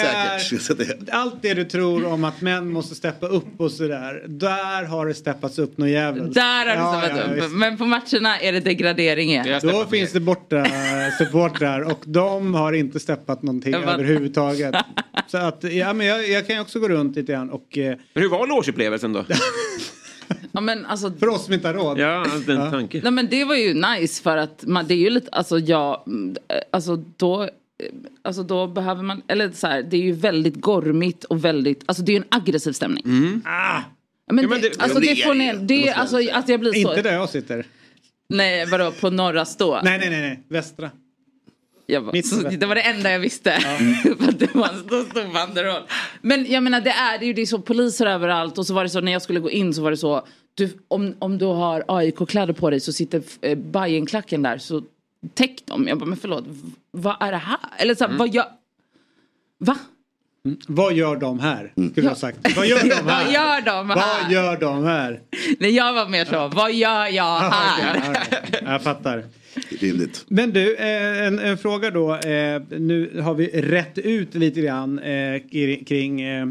S1: är- Allt det du tror om att män måste steppa upp och sådär. Där har det steppats upp något jävligt.
S10: Där har du steppat upp. men på matcherna är det degradering igen.
S1: Då finns det borta supportrar och de har inte steppat någonting
S10: Jag bara-
S1: överhuvudtaget. Så att, ja, men jag, jag kan ju också gå runt lite grann och... Eh,
S3: Men hur var loageupplevelsen då?
S10: Ja, men alltså,
S1: för oss som inte har råd.
S3: Ja, den tanken.
S10: Nej men det var ju nice för att man, det är ju lite, alltså jag, mm, eh, alltså då, eh, alltså då behöver man, eller så här, det är ju väldigt gormigt och väldigt, alltså det är ju en aggressiv stämning.
S1: Ah.
S10: Ja, Men
S1: Ja,
S10: det,
S1: men det-
S10: alltså
S1: Ja,
S10: det
S1: det
S10: får
S1: är
S10: ner,
S1: det.
S10: det,
S1: Det
S10: är-
S1: måste
S10: alltså att jag blir så.
S1: Inte där jag sitter.
S10: Nej vadå på norra stå?
S1: Nej, nej, nej, nej. västra.
S10: Jag bara,
S1: Mitt
S10: så,
S1: västra.
S10: det var det enda jag visste. För att det var en stor, stor banderoll. Men jag menar det är, det är ju det är så poliser överallt och så var det så när jag skulle gå in så var det så. Du, om, om du har AIK-kläder på dig så sitter eh, Bajenklacken där så täck dem. Jag bara men förlåt, v- vad är det här? Eller så här, vad gör... Va?
S1: Mm. Vad gör de här? Skulle jag ha sagt. Vad gör de här?
S10: Vad gör de här?
S1: Vad gör de här?
S10: Nej jag var mer så, vad gör jag här?
S1: Jag fattar.
S2: Rimligt.
S1: Men du, eh, en, en fråga då. Eh, Nu har vi rätt ut lite grann eh, kri- kring eh,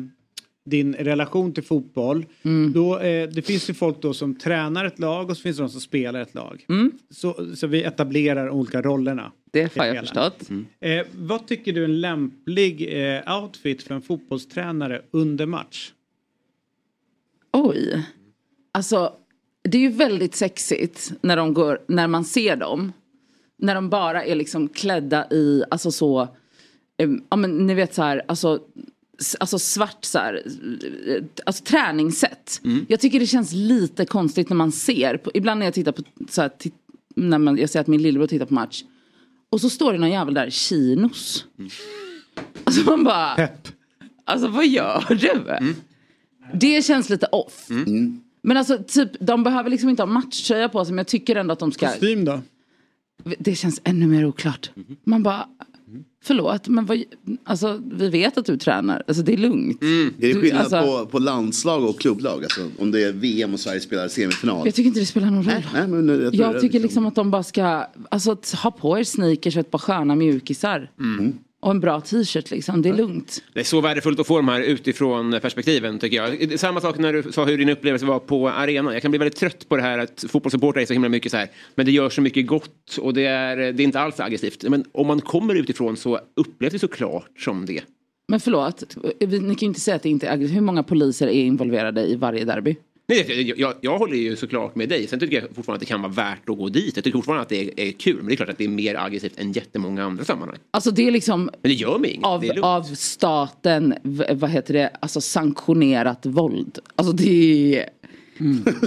S1: din relation till fotboll. Då, eh, det finns ju folk då som tränar ett lag och så finns det de som spelar ett lag. Så, så vi etablerar olika rollerna.
S10: Det har jag
S1: Hela.
S10: förstått.
S1: Eh, vad tycker du är en lämplig eh, outfit för en fotbollstränare under match?
S10: Oj. Alltså, det är ju väldigt sexigt när, de går, när man ser dem. När de bara är liksom klädda i, alltså så, em, ja men ni vet så här, alltså, s- alltså svart så här, eh, alltså träningssätt. Jag tycker det känns lite konstigt när man ser, på, ibland när jag tittar på, så här, titt, när man, jag ser att min lillebror tittar på match. Och så står det någon jävel där i chinos. Alltså man bara, alltså vad gör du? Det känns lite off. Men alltså typ, de behöver liksom inte ha matchtröja på sig men jag tycker ändå att de ska...
S1: Kostym då?
S10: Det känns ännu mer oklart.
S2: Mhm.
S10: Man bara, förlåt men vad... Alltså vi vet att du tränar, alltså det är lugnt.
S2: Är det
S10: Du,
S2: skillnad
S10: alltså-
S2: på, på landslag och klubblag? Alltså, om det är VM och Sverige spelar semifinal?
S10: Jag tycker inte det spelar någon roll.
S2: Nej, men jag tror det-
S10: jag tycker liksom att de bara ska, alltså att ha på er sneakers och ett par sköna mjukisar.
S2: Mm.
S10: Och en bra t-shirt liksom, det är lugnt.
S3: Det är så värdefullt att få de här utifrån perspektiven tycker jag. Samma sak när du sa hur din upplevelse var på arenan. Jag kan bli väldigt trött på det här att fotbollssupportrar är så himla mycket så här. Men det gör så mycket gott och det är, det är inte alls aggressivt. Men om man kommer utifrån så upplevs det såklart som det.
S10: Men förlåt, vi- ni kan ju inte säga att det inte är aggressivt. Hur många poliser är involverade i varje derby?
S3: Nej, jag- jag, jag, jag håller ju såklart med dig. Sen tycker jag fortfarande att det kan vara värt att gå dit. Jag tycker fortfarande att det är, är kul. Men det är klart att det är mer aggressivt än jättemånga andra sammanhang.
S10: Alltså det är liksom
S3: Men det gör mig inget.
S10: av,
S3: det är lugnt.
S10: av staten, v- vad heter det, alltså sanktionerat våld. Alltså det är...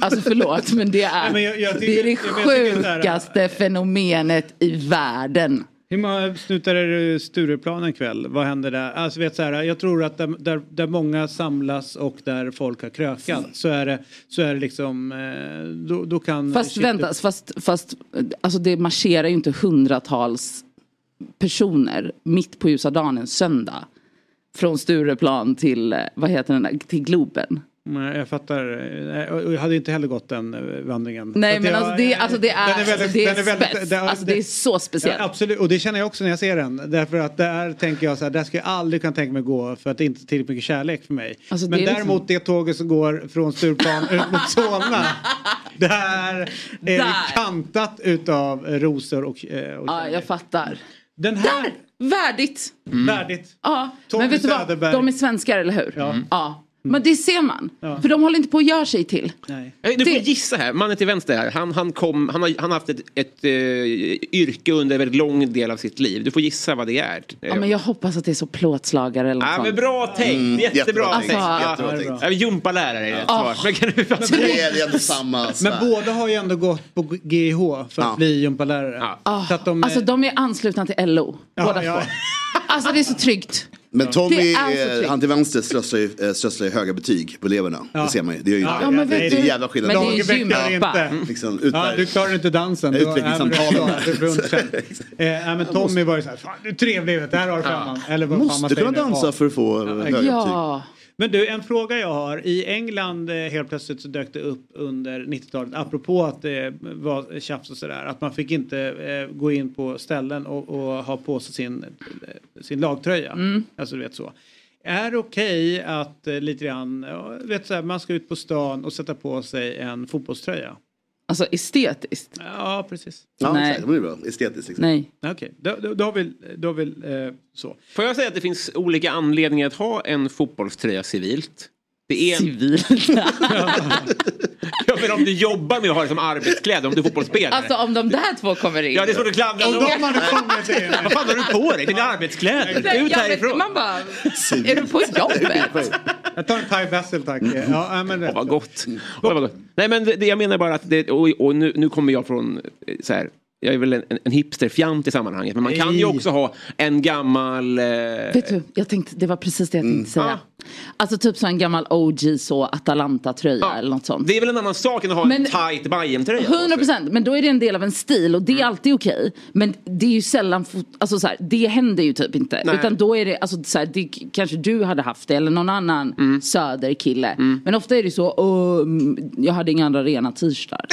S10: Alltså förlåt men det är,
S1: Mm. Nej, men jag- jag
S10: det, är
S1: tycker-
S10: det
S1: jag- jag tycker så här-
S10: sjukaste fenomenet i världen.
S1: Hur många snutar är det Stureplan en kväll? Vad händer där? Alltså vet så här, jag tror att där, där, där många samlas och där folk har krökat
S10: Mm.
S1: så är det, så är det liksom, eh, då, då kan...
S10: Fast
S1: shit-
S10: vänta, fast, fast alltså det marscherar ju inte hundratals personer mitt på ljusa dagen en söndag. Från Stureplan till, eh, vad heter den där, till Globen.
S1: Nej, jag fattar. Nej, och- och Jag hade inte heller gått den eh, vandringen. Så
S10: Nej
S1: att
S10: men
S1: jag-
S10: alltså det, alltså det är,
S1: den är väldigt-
S10: det är,
S1: den är väldigt-
S10: spets.
S1: det-
S10: alltså det är så speciellt.
S1: Ja, absolut, och det känner jag också när jag ser den. Därför att där tänker jag så här, där ska jag aldrig kunna tänka mig gå för att det är inte är tillräckligt mycket kärlek för mig.
S10: Alltså, det
S1: Men
S10: är liksom-
S1: däremot det tåget som går från Stureplan ut mot Solna. Där är det
S10: Där.
S1: kantat utav eh, rosor och, eh, och
S10: Ja, jag fattar.
S1: Den här...
S10: Där! Värdigt!
S1: Mm. Värdigt.
S10: Ja,
S1: Tommy
S10: men vet du vad?
S1: Söderberg.
S10: De är svenskar, eller hur? Mm. Ja. Men det ser man. För de håller inte på att göra sig till.
S9: Nej, Eh, Du får gissa här, mannen till vänster här. Han, han, kom, han, har, han har haft ett, ett eh, yrke under en väldigt lång del av sitt liv. Du får gissa vad det är.
S10: Ja, men jag hoppas att det är så plåtslagare eller något
S9: Ja, men
S10: sånt.
S9: bra tänkt,
S10: Mm,
S9: jättebra
S10: jättebra
S9: tänkt.
S10: tänkt, jättebra
S9: Ja,
S10: tänkt.
S9: bra. Ja, Gympalärare är ett svar.
S10: Ah.
S9: Men kan du
S1: Men det är ju ändå
S2: samma.
S1: Men båda har ju ändå gått på GH för att bli gympalärare. Så att de,
S10: Alltså
S1: eh,
S10: de är anslutna till LO, båda två. Alltså det är så tryggt.
S2: Men Tommy,
S10: Det är så
S2: eh,
S10: tryggt.
S2: han till vänster slösar ju, eh, slösar ju höga betyg på eleverna. Det ser man ju. Det gör ju
S1: Ja,
S2: inte.
S1: ja, men
S2: det
S1: vet
S2: är
S1: du-
S2: en jävla skillnad.
S1: Men det är Dagen väcker gympa. inte.
S2: Ja, Liksom, ut
S1: Ja,
S2: där.
S1: du klarar inte dansen. Du har-
S2: Utvecklingssamtalen.
S1: nej, men det är bra. Du är runt sen. eh, nej, men Tommy var ju såhär, fan du är trevlig, vet du, här har du femman. Eller vad fan man
S2: Måste
S1: säger
S2: kunna
S1: nu.
S2: dansa för att få
S1: Ja,
S2: eh, höga
S1: exakt.
S2: betyg.
S1: Men du, en fråga jag har. I England eh, helt plötsligt så dök det upp under 90-talet, apropå att det var tjafs och sådär, att man fick inte eh, gå in på ställen och, och ha på sig sin, eh, sin lagtröja. Alltså du vet så. Är det okej att eh, lite grann, ja, vet så här, man ska ut på stan och sätta på sig en fotbollströja?
S10: Alltså estetiskt?
S1: Ja, precis.
S2: Ja,
S10: Nej.
S2: Nej. Exakt, det är bra. Estetiskt liksom.
S10: Nej.
S1: Okej, då, då, då har vi, då har vi eh, så.
S9: Får jag säga att det finns olika anledningar att ha en fotbollströja civilt? Det är en...
S10: Civilt?
S9: ja, men om du jobbar med att ha det som arbetskläder, om du är fotbollsspelare.
S10: Alltså om de där två kommer in.
S9: Ja, det är svårt att klandra
S10: Om
S9: någon.
S10: de hade kommit in.
S9: Vad fan har du på dig? Det är arbetskläder. Ut härifrån.
S10: Man bara, är du på jobbet?
S1: Jag tar en Thai Basil tack. Ja, äh, men det.
S9: vad gott. Åh, vad gott. Nej men det, jag menar bara att det, och, och nu, nu kommer jag från eh, så här. Jag är väl en, en- en hipsterfjant i sammanhanget men man kan ju
S10: Nej.
S9: också ha en gammal... Eh,
S10: Vet du, jag tänkte, det var precis det jag tänkte säga. Alltså typ så en gammal OG så Atalanta-tröja eller något sånt.
S9: det är väl en annan sak än att ha en
S10: Men-
S9: tight Bajen-tröja.
S10: 100 procent, men då är det en del av en stil och det är
S9: Mm.
S10: alltid okej. Men det är ju sällan, fot- alltså så här, det händer ju typ inte.
S9: Nej.
S10: Utan då är det, alltså så här, det k- kanske du hade haft det eller någon annan
S9: Mm.
S10: söderkille. Men ofta är det ju så, "Åh, mm, jag hade inga andra rena t-shirtar.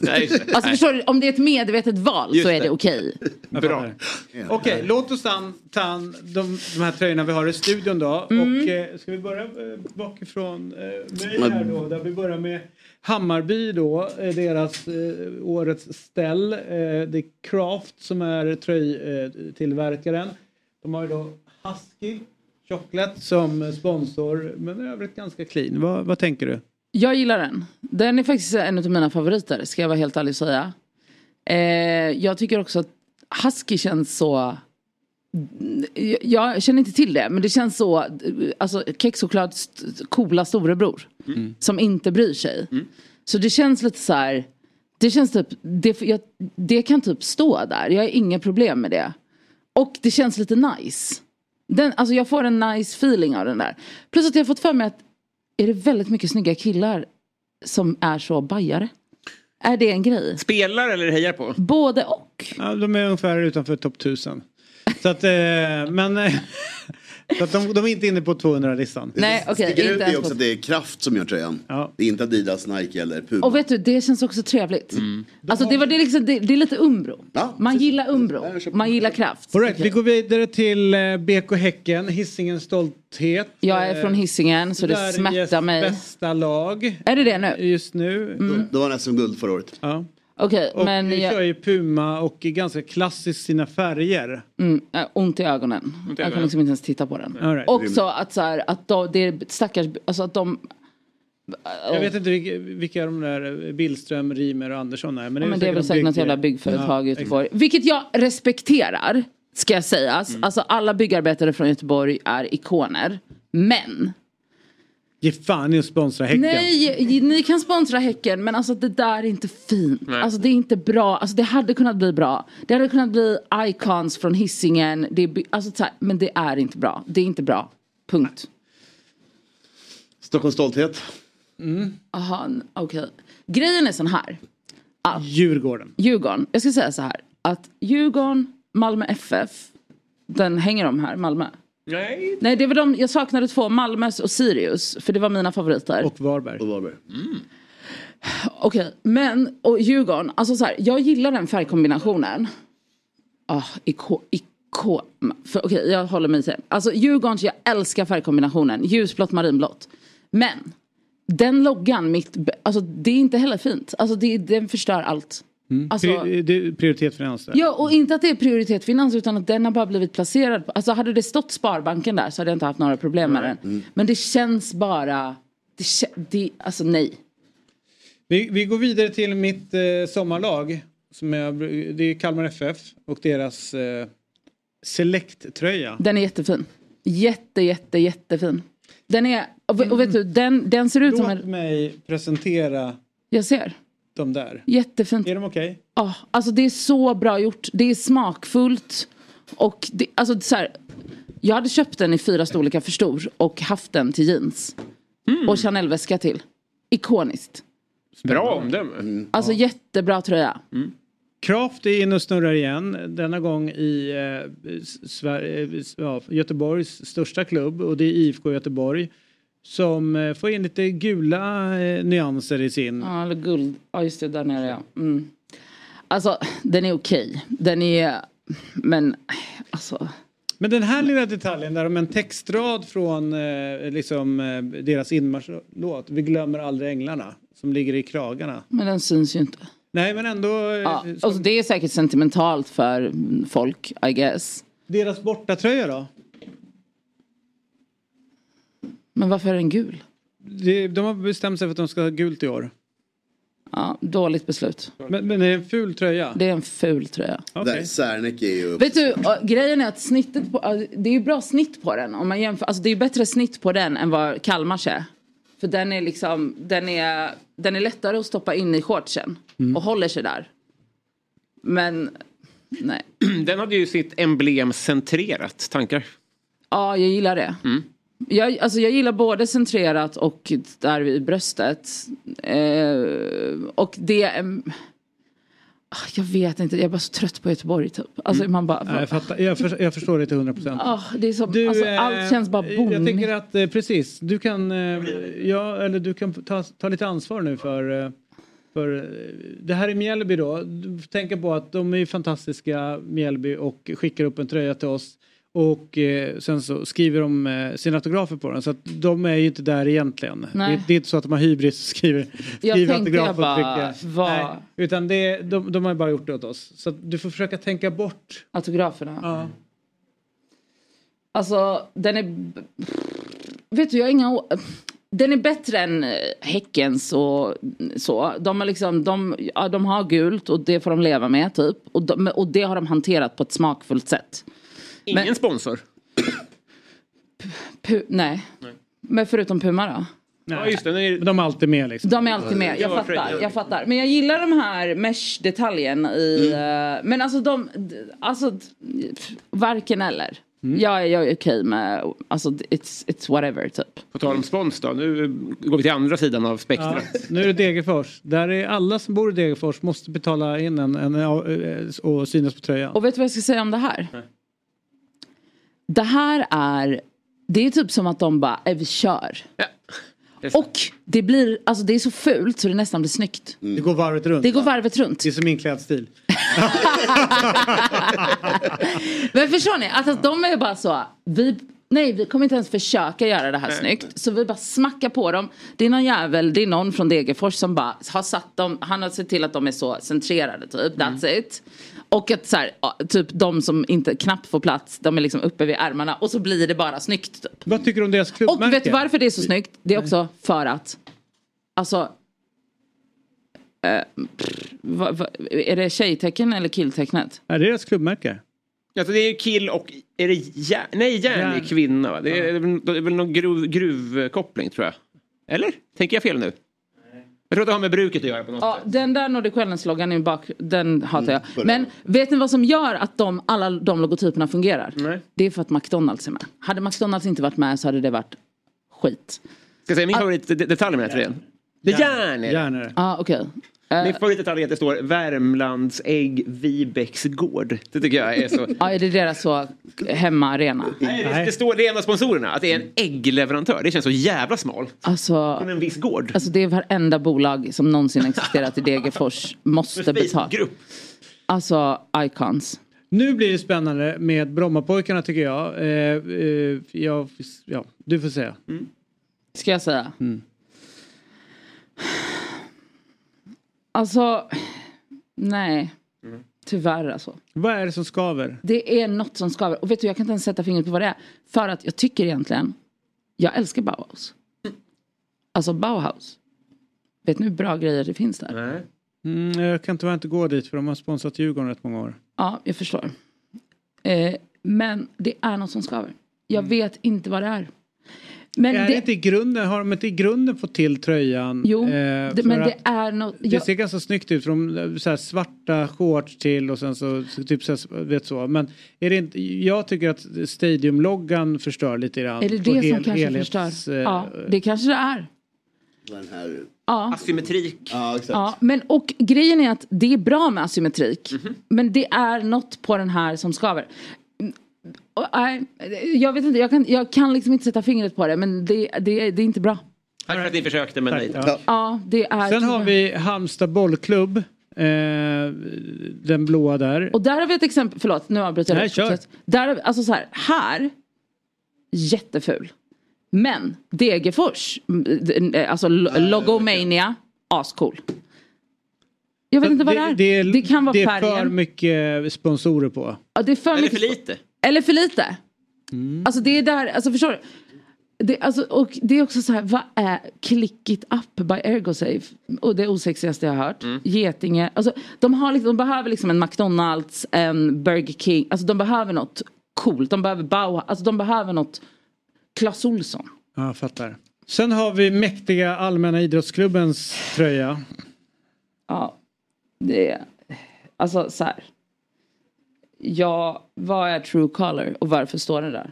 S9: Nej, just det.
S10: alltså
S9: Nej.
S10: förstår du, om det är ett medvetet val
S9: Just
S10: så är
S9: det.
S10: det okej.
S9: Bra.
S1: Okej, låt oss an, ta an de, de här tröjorna vi har i studion då. Och, eh, ska vi börja eh, bakifrån eh, mig här då? Där vi börjar med Hammarby då, eh, deras eh, årets ställ. Eh, det är Craft som är tröjtillverkaren. Eh, tillverkaren. de har ju då Husky Chocolate som eh, sponsor, men i övrigt ganska clean. Vad, vad tänker du?
S10: Jag gillar den. Den är faktiskt en av mina favoriter, ska jag vara helt ärlig och säga. Eh, jag tycker också att Husky känns så... Jag, jag känner inte till det, men det känns så... Alltså, kexchoklads coola storebror. Som inte bryr sig. Så det känns lite så här... Det känns typ... Det, jag, det kan typ stå där. Jag har inga problem med det. Och det känns lite nice. Den, alltså jag får en nice feeling av den där. Plus att jag har fått för mig att är det väldigt mycket snygga killar som är så bajare? Är det en grej?
S9: Spelar eller hejar på?
S10: Både och.
S1: Ja, de är ungefär utanför topp 1000. Så att, eh, men... eh, Så att de, de är inte inne på 200-listan.
S10: Nej, Eh, okej,
S2: Sticker ut
S10: inte
S2: är ju
S10: ens
S2: också
S10: på-
S2: att det är Kraft som gör tröjan. Det är inte Adidas, Nike eller Puma.
S10: Och vet du, det känns också trevligt.
S2: Mm.
S10: Alltså det, var, det, är liksom, det, det är lite Umbro. Man gillar Umbro. Man gillar kraft.
S1: All right, vi går vidare till eh, BK Häcken, Hisingens stolthet.
S10: Jag är från
S1: Eh,
S10: Hisingen så det smärtar mig.
S1: bästa lag.
S10: Är det det nu?
S1: Just nu.
S10: Mm.
S2: Det var en SM-guld förra året.
S1: Ja.
S10: Okej,
S1: Och
S10: men
S1: vi
S10: jag-
S1: kör ju Puma och är ganska klassiskt sina färger.
S10: Mm, äh, ont i ögonen.
S1: Ont i
S10: Jag kan
S1: ögonen.
S10: liksom inte ens titta på den.
S1: All right.
S10: Också att, så här, att de, det är stackars, alltså att de... Oh.
S1: Jag vet inte vilka, vilka de där eh, Billström, Rimer och Andersson är. Men det
S10: Ja,
S1: är,
S10: men det är väl
S1: de
S10: säkert något
S1: bygger-
S10: jävla byggföretag i
S1: Ja,
S10: Göteborg. Vilket jag respekterar, ska jag sägas. Alltså alla byggarbetare från Göteborg är ikoner. Men,
S1: Ge fan i att sponsra Häcken.
S10: nej, ni kan sponsra Häcken men alltså det där är inte fint.
S1: Nej.
S10: Alltså det är inte bra, alltså det hade kunnat bli bra. Det hade kunnat bli icons från Hisingen. Det är, by- alltså, så här, men det är inte bra, det är inte bra. Punkt.
S2: Stockholms stolthet.
S10: Mm. Aha, n- okej. Grejen är sån här. Att
S1: Djurgården.
S10: Djurgården. Jag ska säga så här. Att Djurgården, Malmö FF. Den hänger de här, Malmö.
S9: Nej.
S10: Nej, det var de, jag saknade två, Malmös och Sirius. För det var mina favoriter.
S1: Och Varberg.
S2: Och Varberg.
S10: Okej, men och Djurgården. Alltså så här, jag gillar den färgkombinationen. Ah, iko, iko. För, okej, jag håller mig till den. Alltså Djurgårdens, jag älskar färgkombinationen. Ljusblått, marinblått. Men den loggan, mitt, alltså det är inte heller fint. Alltså det, den förstör allt.
S1: Mm.
S10: Alltså-
S1: Pri- du, prioritet finans där.
S10: Ja, och inte att det är prioritet finans utan att den har bara blivit placerad. på- Alltså hade det stått Sparbanken där så hade jag inte haft några problem med den.
S1: Mm.
S10: Men det känns bara... Det, kä- det, alltså nej.
S1: Vi, vi går vidare till mitt eh, sommarlag. Som jag, br- det är Kalmar FF och deras eh, Select-tröja.
S10: Den är jättefin. Jätte, jätte, jättefin. Den är... Och, ve- och vet du, den, den ser ut som
S1: Låt
S10: en...
S1: mig presentera
S10: Jag ser.
S1: de där.
S10: Jättefint.
S1: Är de okej?
S10: Ja, alltså det är så bra gjort. Det är smakfullt. Och det, alltså så här, jag hade köpt den i fyra storlekar för stor och haft den till jeans.
S1: Mm.
S10: Och Chanel-väska till. Ikoniskt.
S9: Bra omdöme.
S10: Alltså jättebra tröja. Mm.
S1: Kraft är inne och snurrar igen. Denna gång i eh, S- Sverige, eh, s- ja, Göteborgs största klubb och det är IFK Göteborg. Som eh, får in lite gula eh, nyanser i sin.
S10: Ja, eller guld. Ja, just det. Där nere, ja. Mm. Alltså, den är okej. Den är... Men, alltså...
S1: Men den här lilla detaljen där om en textrad från eh, liksom, eh, deras inmarschlåt. Vi glömmer aldrig änglarna. Som ligger i kragarna.
S10: Men den syns ju inte.
S1: Nej men ändå. eh,
S10: Ja, alltså, det är säkert sentimentalt för folk, I guess.
S1: Deras bortatröja då?
S10: Men varför är den gul?
S1: Det- De har bestämt sig för att de ska ha gult i år.
S10: Ja, dåligt beslut.
S1: Men, men är det en ful tröja?
S10: Det är en ful tröja.
S2: Där, Serneke är ju upp.
S10: Vet du, och grejen är att snittet på, alltså, det är ju bra snitt på den. Om man jämför, alltså det är ju bättre snitt på den än vad Kalmars är. För den är liksom, den är, den är lättare att stoppa in i shortsen.
S1: Mm.
S10: Och håller sig där. Men, nej.
S9: Den hade ju sitt emblem centrerat. Tankar?
S10: Ja, jag gillar det.
S9: Mm.
S10: Jag, alltså jag gillar både centrerat och där i bröstet. Eh, och det... ehm, ah, jag vet inte, jag är bara så trött på Göteborg typ. Alltså man bara...
S1: Mm. Nej, jag, fattar, jag, för, jag förstår det till 100 procent.
S10: Ah, det är som, alltså,
S1: eh,
S10: allt känns bara
S1: Jag
S10: bonigt.
S1: tänker att eh, precis, du kan, eh, ja, eller du kan ta, ta lite ansvar nu för, eh, för eh, det här i Mjällby då. Du får tänka på att de är ju fantastiska Mjällby och skickar upp en tröja till oss. Och eh, sen så skriver de eh, sina autografer på den så att de är ju inte där egentligen. Det,
S10: Nej.
S1: det är inte så att de har hybris och skriver,
S10: Jag
S1: skriver
S10: tänkte jag
S1: autografer
S10: bara,
S1: och trycker.
S10: vad-
S1: Nej, utan det, de, de har bara gjort det åt oss. Så att du får försöka tänka bort
S10: Autograferna?
S1: Ja.
S10: Alltså, den är... b- Vet du, jag har inga... å- Den är bättre än eh, Häckens och så. De har, liksom, de, ja, de har gult och det får de leva med typ. Och, de, och det har de hanterat på ett smakfullt sätt.
S9: Ingen sponsor?
S10: Pu, nej. Men förutom Puma då?
S1: Ja, just det, De är alltid med liksom.
S10: De är alltid med, jag fattar, jag fattar. Men jag gillar de här mesh-detaljen i... eh, Men alltså de... d- Alltså, d- varken eller. Jag, är- jag är okej med... Alltså, it's, it's whatever typ.
S9: På tal om spons då, nu går vi till andra sidan av
S1: Ja,
S9: spektrat.
S1: nu är det Degerfors. Där är alla som bor i Degerfors måste betala in en, en, en och synas på tröjan.
S10: Och vet du vad jag ska säga om det här? Det här är... Det är typ som att de bara, "Eh, vi kör. Och det blir, alltså det är så fult så det nästan blir snyggt.
S1: Det går varvet runt.
S10: Det går varvet runt.
S1: Det är som min klädstil.
S10: Men förstår ni? Att, att de är bara så. Vi, nej, vi kommer inte ens försöka göra det här
S11: Nej.
S10: snyggt. Så vi bara smackar på dem. Det är någon jävel, det är någon från Degerfors som bara har satt dem. Han har sett till att de är så centrerade typ.
S11: Mm.
S10: That's it. Och att så här, ja, typ de som inte knappt får plats, de är liksom uppe vid ärmarna och så blir det bara snyggt. Typ.
S1: Vad tycker du om deras klubbmärke?
S10: Och vet du varför det är så snyggt? Det är
S11: Mm.
S10: också för att, alltså, eh, pff, va, va, är det tjejtecken eller killtecknet?
S1: Nej, det är deras klubbmärke.
S9: Alltså det är ju kill och... Är det järn? Nej, järn är
S1: Järn.
S9: kvinna. Va? Det, är, väl- det är väl någon gruv, gruvkoppling tror jag. Eller? Tänker jag fel nu? Jag tror att det har med bruket att göra på något
S10: Ja, den där Nordic Wellness-loggan i bak, den hatar
S9: Mm,
S10: jag. Men vet ni vad som gör att de, alla de logotyperna fungerar? Det är för att McDonalds är med. Hade McDonalds inte varit med så hade det varit skit.
S9: Ska jag säga min favoritdetalj med den här tröjan? Det är järn! är det.
S10: ah, okej.
S9: Min favoritdetalj är att det står Värmlands ägg Vibecks gård. Det tycker jag är så...
S10: Ja, är det deras så hemmaarena?
S9: Nej, det, det står det är en av sponsorerna, att det är en äggleverantör. Det känns så jävla smal.
S10: Alltså,
S9: Från en viss gård.
S10: alltså det är varenda bolag som någonsin existerat i Degerfors måste betala. Alltså icons.
S1: Nu blir det spännande med Brommapojkarna tycker jag. Eh, eh, jag ja, du får säga.
S10: Mm. Ska jag säga? Alltså, Nej, tyvärr alltså.
S1: Vad är det som skaver?
S10: Det är något som skaver. Och vet du, jag kan inte ens sätta fingret på vad det är. För att jag tycker egentligen, jag älskar Bauhaus. Alltså Bauhaus. Vet ni hur bra grejer det finns där?
S1: Nej. Mm, jag kan tyvärr inte gå dit för de har sponsrat Djurgården rätt många år.
S10: Ja, jag förstår. Eh, men det är något som skaver. Jag vet inte vad det är. Men
S1: Mm. är det...
S10: det-
S1: inte i grunden, har de inte i grunden fått till tröjan?
S10: Jo,
S1: eh,
S10: det,
S1: för
S10: men
S1: att
S10: det är något...
S1: Det
S10: Jag,
S1: ser ganska snyggt ut för de eh, så här, svarta shorts till och sen så så typ så här, vet så. Men är det inte, jag tycker att Stadium-loggan förstör lite grann.
S10: är det det
S1: på
S10: som
S1: hel-
S10: kanske
S1: helhets-
S10: förstör?
S1: eh,
S10: Ja, det kanske det är.
S2: Den här...
S10: Ja.
S9: Asymmetrik.
S2: Ja, exakt.
S10: Ja, men och grejen är att det är bra med asymmetrik.
S1: Mhm.
S10: Men det är något på den här som skaver. Mm, och, nej, jag vet inte, jag kan, jag kan liksom inte sätta fingret på det men det, det, det är inte bra.
S9: Tack för att ni försökte men nej.
S1: Ja.
S10: Ja, det är...
S1: Sen har vi Halmstad bollklubb. Eh, den blåa där.
S10: Och där har vi ett exempel, förlåt nu avbryter jag.
S1: Nej, kör.
S10: Fortsätt. Där, har vi- alltså så här, här, jätteful. Men Degerfors, mm, d- eh, alltså lo- Logomania, ascool. Jag vet
S1: Så
S10: inte vad det,
S1: det,
S10: är.
S1: det är. Det
S10: kan vara
S1: det är
S10: färgen.
S1: för mycket sponsorer på.
S10: Ja, det är för mycket-
S9: lite.
S10: Eller för lite. Alltså det är där, alltså förstår du? Det, alltså, och det är också så här, vad är Click It Up by Ergosafe? Och det osexigaste jag har hört. Getinge. Alltså, de, har liksom, de behöver liksom en McDonalds, en Burger King. Alltså de behöver något coolt. De behöver Bauhaus. Alltså de behöver något Clas Ohlson.
S1: Ja, jag fattar. Sen har vi mäktiga Allmänna Idrottsklubbens tröja.
S10: Ja, det är... Alltså så här. Ja, vad är true color och varför står det där?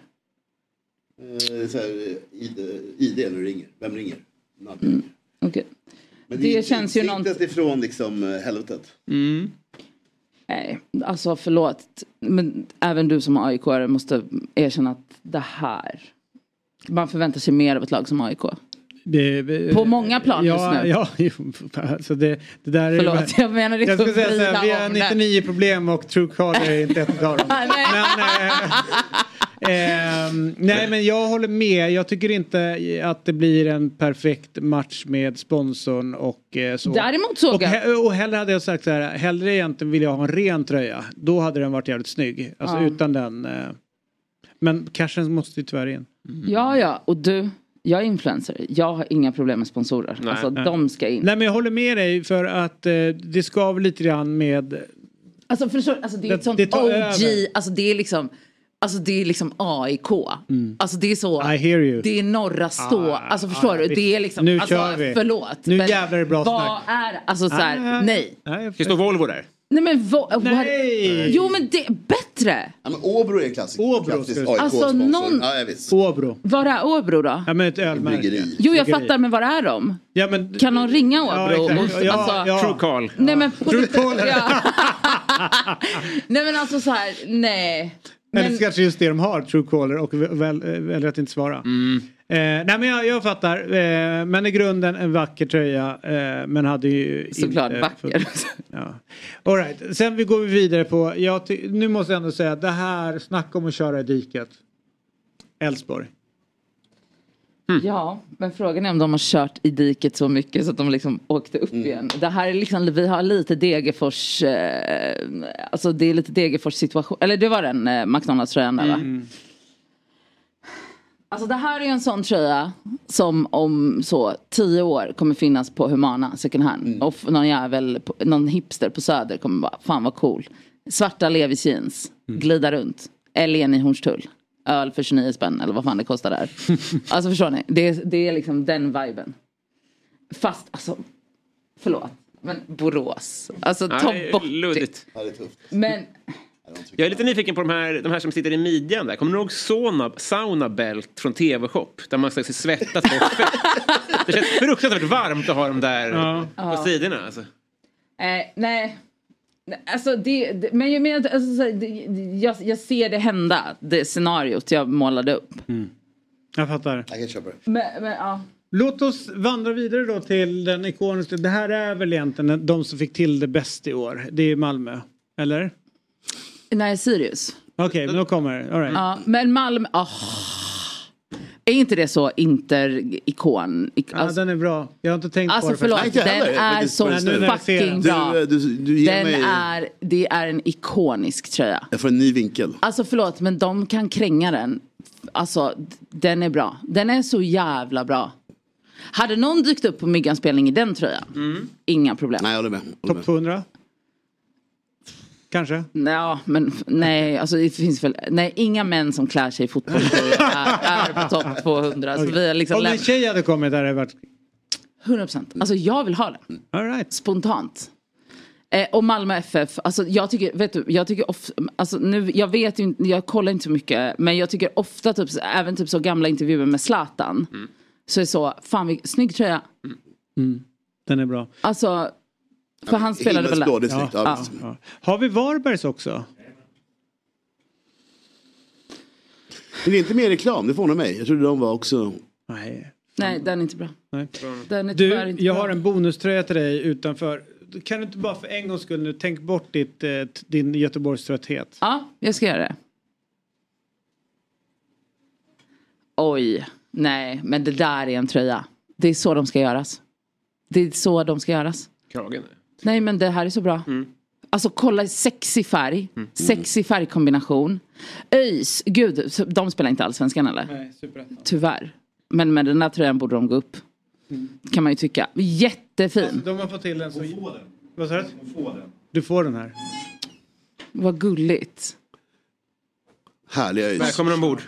S2: Eh, Så här, ID, ID när du ringer. Vem ringer? Nadja.
S10: Okej.
S2: Men
S10: Mm. Det
S2: är
S10: känns ju
S2: utsiktet ifrån liksom eh, helvetet.
S10: Nej, alltså förlåt. Men även du som aik måste erkänna att det här. Man förväntar sig mer av ett lag som AIK. På många plan
S1: ja,
S10: just nu.
S1: Ja, jo, alltså det, det där är
S10: Förlåt, jag menar liksom
S1: jag skulle säga så
S10: vrida
S1: här, vi har
S10: om det.
S1: 99 problem och Truecaller är inte ett av dem. eh,
S10: Nej.
S1: Ehm, nej men jag håller med. Jag tycker inte att det blir en perfekt match med sponsorn och eh, så.
S10: Däremot såg
S1: och,
S10: jag-
S1: he- och hellre hade jag sagt så här. Hellre egentligen vill jag ha en ren tröja. Då hade den varit jävligt snygg. Alltså
S10: Ja.
S1: utan den. Eh, men cashen måste ju tyvärr in.
S10: Ja, ja. Och du, jag är influencer. Jag har inga problem med sponsorer.
S1: Nej.
S10: alltså
S1: Nej.
S10: de ska in.
S1: Nej men jag håller med dig för att eh, det skav lite grann med
S10: Alltså förstår alltså det är
S1: Det-
S10: ett sånt
S1: det tar
S10: OG.
S1: över.
S10: Alltså det är liksom. Alltså det är liksom AIK. Alltså det är så.
S1: Mm. I hear you.
S10: Det är norra stå.
S1: Ah,
S10: alltså förstår
S1: ah,
S10: du?
S1: visst.
S10: Det är liksom.
S1: Nu
S10: alltså,
S1: kör vi.
S10: Förlåt.
S1: Nu
S10: men
S1: jävlar är det bra
S10: Vad
S1: snack. Ah.
S10: är det? Alltså så här, nej.
S9: Det står Volvo där.
S10: Nej men vad?
S1: Nej.
S10: Jo men det är bättre.
S2: Ja, men Åbro är en klassiker. Åbro
S1: ska vi
S10: säga. Alltså, någon-
S2: Ja, jag visst.
S1: Åbro.
S10: Var är Åbro då?
S1: Ja men ett ölmärke.
S10: Jo jag fattar men var är de?
S1: Ja, men,
S10: Kan någon ringa Åbro?
S1: exakt.
S10: Måste-
S1: Ja,
S10: alltså,
S1: ja.
S9: Truecall.
S10: Nej men på riktigt.
S1: Truecaller.
S10: Ja. nej men alltså så här, nej.
S1: Eller så kanske just det de har, Truecaller och väl, väl, väljer att inte svara. Eh, nej men jag, jag fattar. Eh, men i grunden en vacker tröja. Eh, men hade ju
S10: Såklart
S1: inte...
S10: vacker.
S1: Ja. All right. Sen vi går vi vidare på, jag ty- nu måste jag ändå säga att det här, snacka om att köra i diket. Elfsborg.
S10: Ja, men frågan är om de har kört i diket så mycket så att de liksom åkte upp igen. Det här är liksom, vi har lite Degerfors, eh, alltså det är lite Degerfors situation. Eller det var den eh, McDonalds-tröjan där va? Alltså det här är ju en sån tröja som om så tio år kommer finnas på Humana second hand.
S9: Mm.
S10: Och f- någon jävel, på- någon hipster på Söder kommer bara, fan vad cool. Svarta Levi's jeans,
S9: Mm.
S10: glida runt. Älgen i Hornstull. Öl för 29 spänn eller vad fan det kostar där. alltså förstår ni, det, är- det är liksom den viben. Fast alltså, förlåt. Men Borås. Alltså
S9: Ja,
S10: ta
S9: det är
S10: bort
S9: luddigt.
S2: det.
S10: Men
S9: Jag är lite nyfiken på de här, de här som sitter i midjan där. Kommer ni ihåg sauna, sauna belt från TV-shop? Där man slags svettas bort fett. Det känns fruktansvärt varmt att ha dem där
S10: Ja.
S9: på sidorna. Alltså.
S10: Eh, nej. Nej, Alltså det, det, men jag menar, alltså, så här, det, det- jag, jag ser det hända, det scenariot jag målade upp.
S1: Jag fattar.
S2: Jag kan köpa det.
S10: Men, men, ja.
S1: Låt oss vandra vidare då till den ikoniska. Det här är väl egentligen de som fick till det bäst i år. Det är Malmö. Eller?
S10: Nej, Sirius.
S1: Okej, men då kommer det. All right.
S10: Ja, men Malmö, ah. Är inte det så interikon? ik-
S1: Ja,
S10: Alltså,
S1: den är bra. Jag har inte tänkt
S10: Alltså,
S1: på det.
S10: förlåt,
S1: faktiskt.
S10: Nej, inte den heller. är Men det- så
S1: Men nu när jag ser
S10: fucking
S1: den.
S10: bra.
S2: Du, eh, du, du ger
S10: den
S2: mig...
S10: är, det är en ikonisk tröja.
S2: Jag får en ny vinkel.
S10: Alltså förlåt men de kan kränga den. Alltså d- den är bra. Den är så jävla bra. Hade någon dykt upp på Myggans spelning i den tröjan? Inga problem.
S2: Nej jag håller med.
S1: Topp 200? Kanske?
S10: Ja, men f- nej, alltså det finns väl, nej, inga män som klär sig i fotboll är, är på topp 200. Så vi har liksom
S1: Om en
S10: lämnat,
S1: tjej hade kommit där hade det varit...
S10: 100%. Alltså jag vill ha den. Spontant. Eh, och Malmö FF, alltså jag tycker, vet du, jag tycker ofta, alltså nu, jag vet ju inte, jag kollar inte så mycket, men jag tycker ofta typ, så- även typ så gamla intervjuer med Zlatan, så är så, fan vilken snygg tröja.
S1: Den är bra.
S10: Alltså, för han spelade väl där. Ja.
S1: ja. Har vi Varbergs också?
S2: Men det är inte mer reklam, det får ordna mig. Jag trodde de var också...
S1: Nej.
S10: Nej, den är inte bra.
S1: Nej.
S10: Den är tyvärr
S1: Du,
S10: inte
S1: jag
S10: bra.
S1: har en bonuströja till dig utanför. Kan du inte bara för en gångs skull nu tänk bort ditt, eh, t- din Göteborgströtthet?
S10: Ja, jag ska göra det. Oj, nej, men det där är en tröja. Det är så de ska göras. Det är så de ska göras.
S3: Kragen.
S10: Nej, men det här är så bra.
S1: Mm.
S10: Alltså kolla sexig färg, sexig färgkombination. ÖIS, gud, så- de spelar inte allsvenskan eller?
S1: Nej, superettan.
S10: Tyvärr. Men med den där tröjan borde de gå upp.
S1: Mm.
S10: Kan man ju tycka. Jättefin.
S1: De har fått till en så... Vad sa du? Få den. Du får den här.
S10: Vad gulligt.
S2: Härliga öjs.
S3: Välkommen ombord.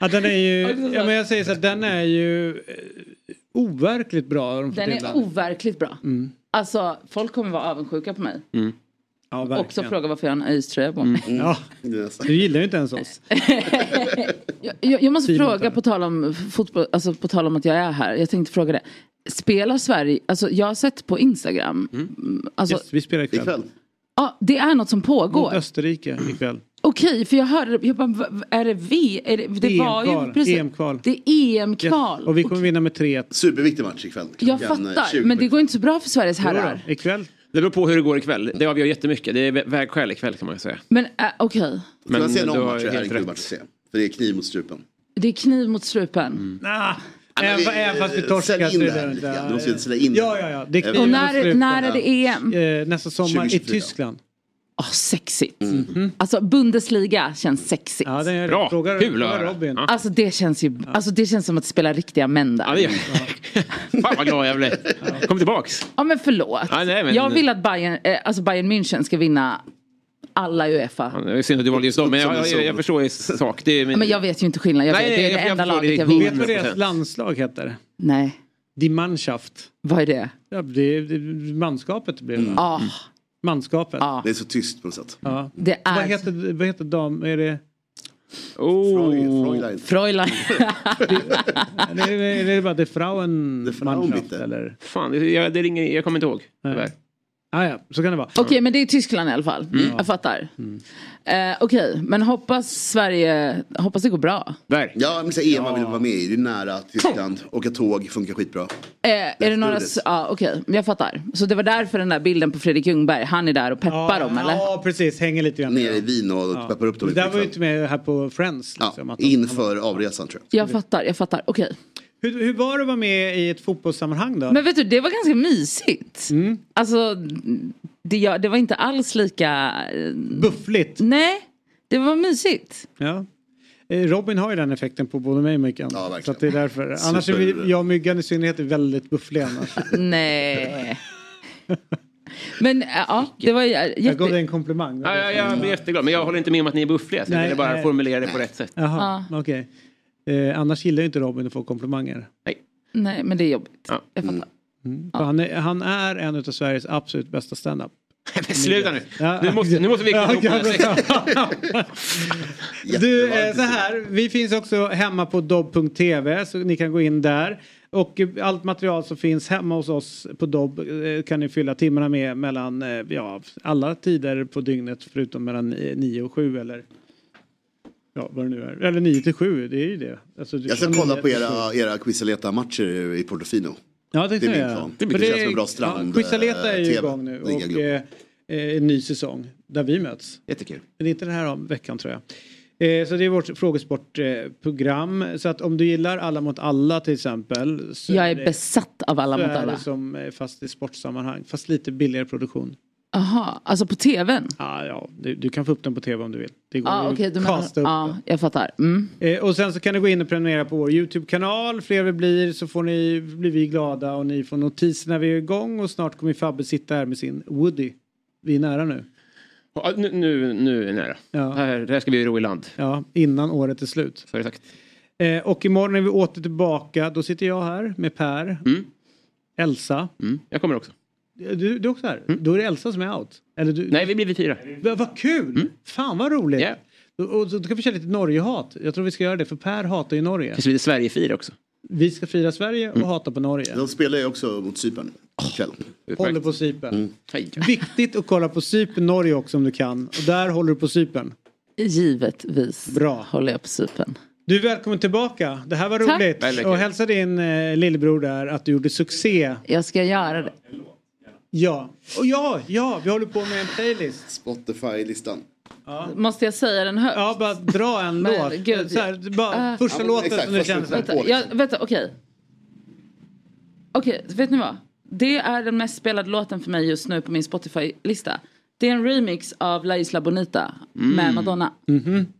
S1: Ja, den är ju... Ja, men jag säger så här, den är ju eh, overkligt bra. har De fått
S10: Den
S1: till
S10: är overkligt bra.
S1: Mm.
S10: Alltså, folk kommer vara avundsjuka på mig.
S1: Ja, verkligen. Mm.
S10: Också fråga varför jag har en ÖIS-tröja på mig.
S1: Ja, du gillar ju inte ens oss.
S10: Jag, jag måste
S1: Simon
S10: fråga på tal, om fotboll, alltså på tal om att jag är här. Jag tänkte fråga det. Spelar Sverige, alltså jag har sett på Instagram. Alltså,
S1: Mm. yes, vi spelar ikväll. ikväll.
S10: ja, det är något som
S1: Mot
S10: pågår.
S1: Österrike ikväll.
S10: Okej, för jag hörde, jag bara, v- är det vi? Är det, det var ju
S1: EM-kval,
S10: precis.
S1: EM-kval.
S10: Det är E EM-kval.
S1: E Och vi kommer vinna med 3-1.
S2: Superviktig match ikväll.
S10: Jag fattar, men det går inte så bra för Sveriges herrar.
S1: Ikväll?
S3: Det beror på hur det går ikväll. Det avgör jättemycket. Det är vä- vägskäl ikväll kan man ju säga.
S10: Men äh, okej,
S2: Men
S1: Mm,
S2: man ser
S3: du
S2: någon
S3: har
S2: match, det här är en
S3: helt
S2: kul
S3: rätt.
S2: match att se. För det är kniv mot strupen.
S10: det är kniv mot strupen.
S1: Ah,
S2: men
S1: även,
S2: vi-
S1: även fast vi
S2: eh,
S1: torskar
S2: sälj in
S1: så är
S2: det här
S1: det
S2: lite
S1: inte-
S2: grann. Du måste ju sälja in
S1: Ja,
S2: det här.
S1: ja, ja. Det är
S2: Och
S1: kniv mot
S10: när-
S1: strupen.
S10: när är det E EM?
S1: Eh, Nästa sommar i
S10: 2024.
S1: Tyskland.
S10: Ah, sexigt. Alltså Bundesliga känns sexigt.
S1: Mhm. Ja, det är Bra. Fråga- Kul att fråga höra. Robin.
S10: Alltså det känns ju, alltså det känns som att spela riktiga män där. Ja,
S3: Fan vad glad jag blev. Kom tillbaks.
S10: men förlåt.
S3: Ja, nej, men-
S10: Jag vill att Bayern, eh, alltså Bayern München ska vinna alla Uefa.
S3: Ja, Det är synd att du valde just dem, men jag, jag, jag, jag förstår ju sak. Det är min...
S10: Men jag vet ju inte skillnaden. Jag
S3: Nej, nej,
S10: vet, det är
S3: jag-
S10: det
S3: jag
S10: enda
S3: förstår,
S10: laget
S3: det är
S10: jag vet.
S1: Vet du vad
S2: Mm.
S1: deras landslag heter?
S10: Nej.
S1: Die Mannschaft.
S10: Vad är det?
S1: Ja, det, det manskapet blir det.
S10: Mm. Ah.
S1: Manskapet.
S2: Det är så tyst på något sätt.
S1: Ja.
S10: Det är...
S1: Vad heter, vad heter dam... Är det...
S2: Oh.
S10: Fräulein.
S3: Mm.
S1: Eller är det, är det bara det Frauen... Det Mannschaft, eller?
S3: Fan, det- jag, det ringer, jag kommer inte ihåg. tyvärr.
S1: Ah, ja, så kan det vara.
S10: Okej, men det är Tyskland i alla fall.
S3: Mm.
S10: Jag fattar. Eh, Okej, men hoppas Sverige, hoppas det går bra.
S3: Där.
S2: Ja, men så här, Eva vill vara med i. Det är nära Tyskland. Åka tåg funkar skitbra.
S10: Eh, är det några...
S2: do this.
S10: Ja, okej. Jag fattar. Så det var därför den där bilden på Fredrik Ljungberg, han är där och peppar dem eller?
S1: Ja, precis. Hänger lite grann.
S2: Nere i Wien och peppar upp dem
S1: Det liksom-
S2: lite.
S1: där var ju
S2: ikväll.
S1: inte med här på Friends. Liksom,
S2: Ja,
S1: att de-
S2: inför avresan tror jag.
S10: Jag fattar, jag fattar. Okej.
S1: Hur, hur var det att vara med i ett fotbollssammanhang då?
S10: Men vet du, det var ganska mysigt.
S1: Mm.
S10: Alltså, det, ja, det var inte alls lika... eh,
S1: Buffligt?
S10: Nej, det var mysigt.
S1: Ja. Eh, Robin har ju den effekten på både mig och Myggan. Ja, så att det är därför. Annars är
S10: Super.
S1: vi, jag och Myggan i synnerhet är väldigt buffliga annars.
S10: Nej. Men eh, ja, det var ju jätte...
S1: Jag gav dig en komplimang.
S3: Ja, ja, jag blir jätteglad, men jag håller inte med om att ni är buffliga. Så jag
S1: Nej,
S3: ville bara
S1: nej.
S3: formulera det på rätt sätt.
S1: Jaha, okej. Eh, annars gillar ju inte Robin att få komplimanger.
S3: Nej.
S10: Nej, men det är jobbigt.
S3: Ja.
S10: Jag fattar.
S1: Mm. För Han, är, han är en av Sveriges absolut bästa standup.
S3: Sluta nu.
S1: Ja.
S3: Nu måste, nu måste vi
S1: Ja,
S3: knyta ihop den här
S1: okej,
S3: säcken.
S1: Du, eh, så här. Vi finns också hemma på dobb.tv så ni kan gå in där. Och eh, allt material som finns hemma hos oss på Dobb eh, kan ni fylla timmarna med mellan eh, ja, alla tider på dygnet förutom mellan 9 och 7 eller ja, vad det nu är. Eller 9 till 7, det är ju det. Alltså, du
S2: Jag ska
S1: kan
S2: kolla
S1: nio
S2: på
S1: till sju.
S2: era, era Quisaleta-matcher i Portofino.
S1: Ja, det,
S2: Det är
S1: kan
S2: min
S1: jag.
S2: plan.
S1: För
S2: Det känns som en bra strand,
S1: Ja, Quisaleta är ju
S2: eh,
S1: igång nu
S2: TV.
S1: och eh, eh, en ny säsong där vi möts.
S3: Jättekul.
S1: Men inte den här om veckan tror jag. Eh, så det är vårt frågesportprogram. Så att om du gillar Alla mot alla till exempel. Så
S10: Jag är
S1: det-
S10: besatt av Alla
S1: så
S10: mot
S1: är
S10: alla.
S1: Det som eh, fast i sportsammanhang. Fast lite billigare produktion.
S10: Aha, alltså på tvn?
S1: Ah, ja, du, du kan få upp den på tv om du vill. Det går
S10: Ja,
S1: ju
S10: Ah, okej, ah.
S1: att
S10: du menar-
S1: casta Mm. upp
S10: ja,
S1: den.
S10: jag fattar. Mm.
S1: Eh, och sen så kan du gå in och prenumerera på vår YouTube-kanal. Fler vi blir så får ni, blir vi glada och ni får notis när vi är igång. Och snart kommer Fabbe sitta här med sin Woody. Vi är nära nu.
S9: Ja, nu, nu, nu är vi nära.
S1: Ja.
S9: Här, här ska vi ro i land.
S1: Ja, innan året är slut.
S9: Så är det sagt.
S1: Eh, och imorgon är vi åter tillbaka. Då sitter jag här med Per. Elsa.
S9: Jag kommer också.
S1: Du, du är också här? Då är det Elsa som är out? Eller du...
S9: Nej, vi blir vi fyra.
S1: Va, vad kul! Fan vad roligt! Då- Och så då kan vi köra lite Norge-hat. Jag tror vi ska göra det, för Per hatar ju Norge.
S9: Kanske blir Sverige fyra också.
S1: Vi ska fira Sverige och hata på Norge.
S2: De spelar ju också mot Cypern ikväll.
S1: Håller på Cypern.
S2: Mm.
S1: Viktigt att kolla på Cypern, Norge också om du kan. Och där håller du på Cypern.
S10: Givetvis
S1: Bra.
S10: håller jag på Cypern.
S1: Du är välkommen tillbaka. Det här var
S10: Tack.
S1: roligt.
S10: Väldigt kul.
S1: Och hälsa din eh, lillebror där att du gjorde succé.
S10: Jag ska göra det.
S1: Ja, och ja, ja, vi håller på med en playlist.
S2: Spotify-listan.
S10: Måste jag säga den högt?
S1: Ja, bara dra en
S10: Men
S1: låt.
S10: gud,
S1: så här, bara
S10: Ah.
S1: första
S2: Ja, men
S1: låten
S2: exakt,
S1: som du
S2: första
S1: känner.
S2: låten.
S1: för.
S10: Vänta, jag, vänta okej. Okej, vet ni vad? Det är den mest spelade låten för mig just nu på min Spotify-lista. Det är en remix av La Isla Bonita med
S1: Mm.
S10: Madonna.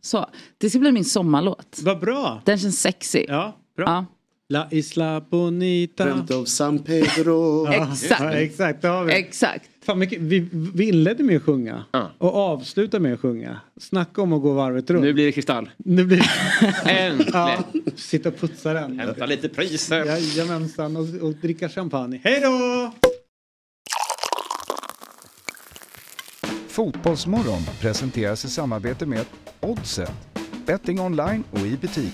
S10: Så, det ska bli min sommarlåt.
S1: Vad bra!
S10: Den känns sexy.
S1: Ja, bra.
S10: Ja.
S1: La Isla Bonita.
S2: Rent av San Pedro.
S1: Ja,
S10: Exakt.
S1: Ja, exakt, det har vi.
S10: Exakt.
S1: Fan, mycket, vi, vi inledde med att sjunga och avslutade med att sjunga. Snacka om att gå varvet runt.
S9: Nu blir det kristall.
S1: Nu blir
S9: Äntligen!
S1: Ja, sitta och putsa den.
S9: Hämta lite priser.
S1: Jajamensan, och, och dricka champagne. Hej då!
S12: Fotbollsmorgon presenteras i samarbete med Oddset, betting online och i butik.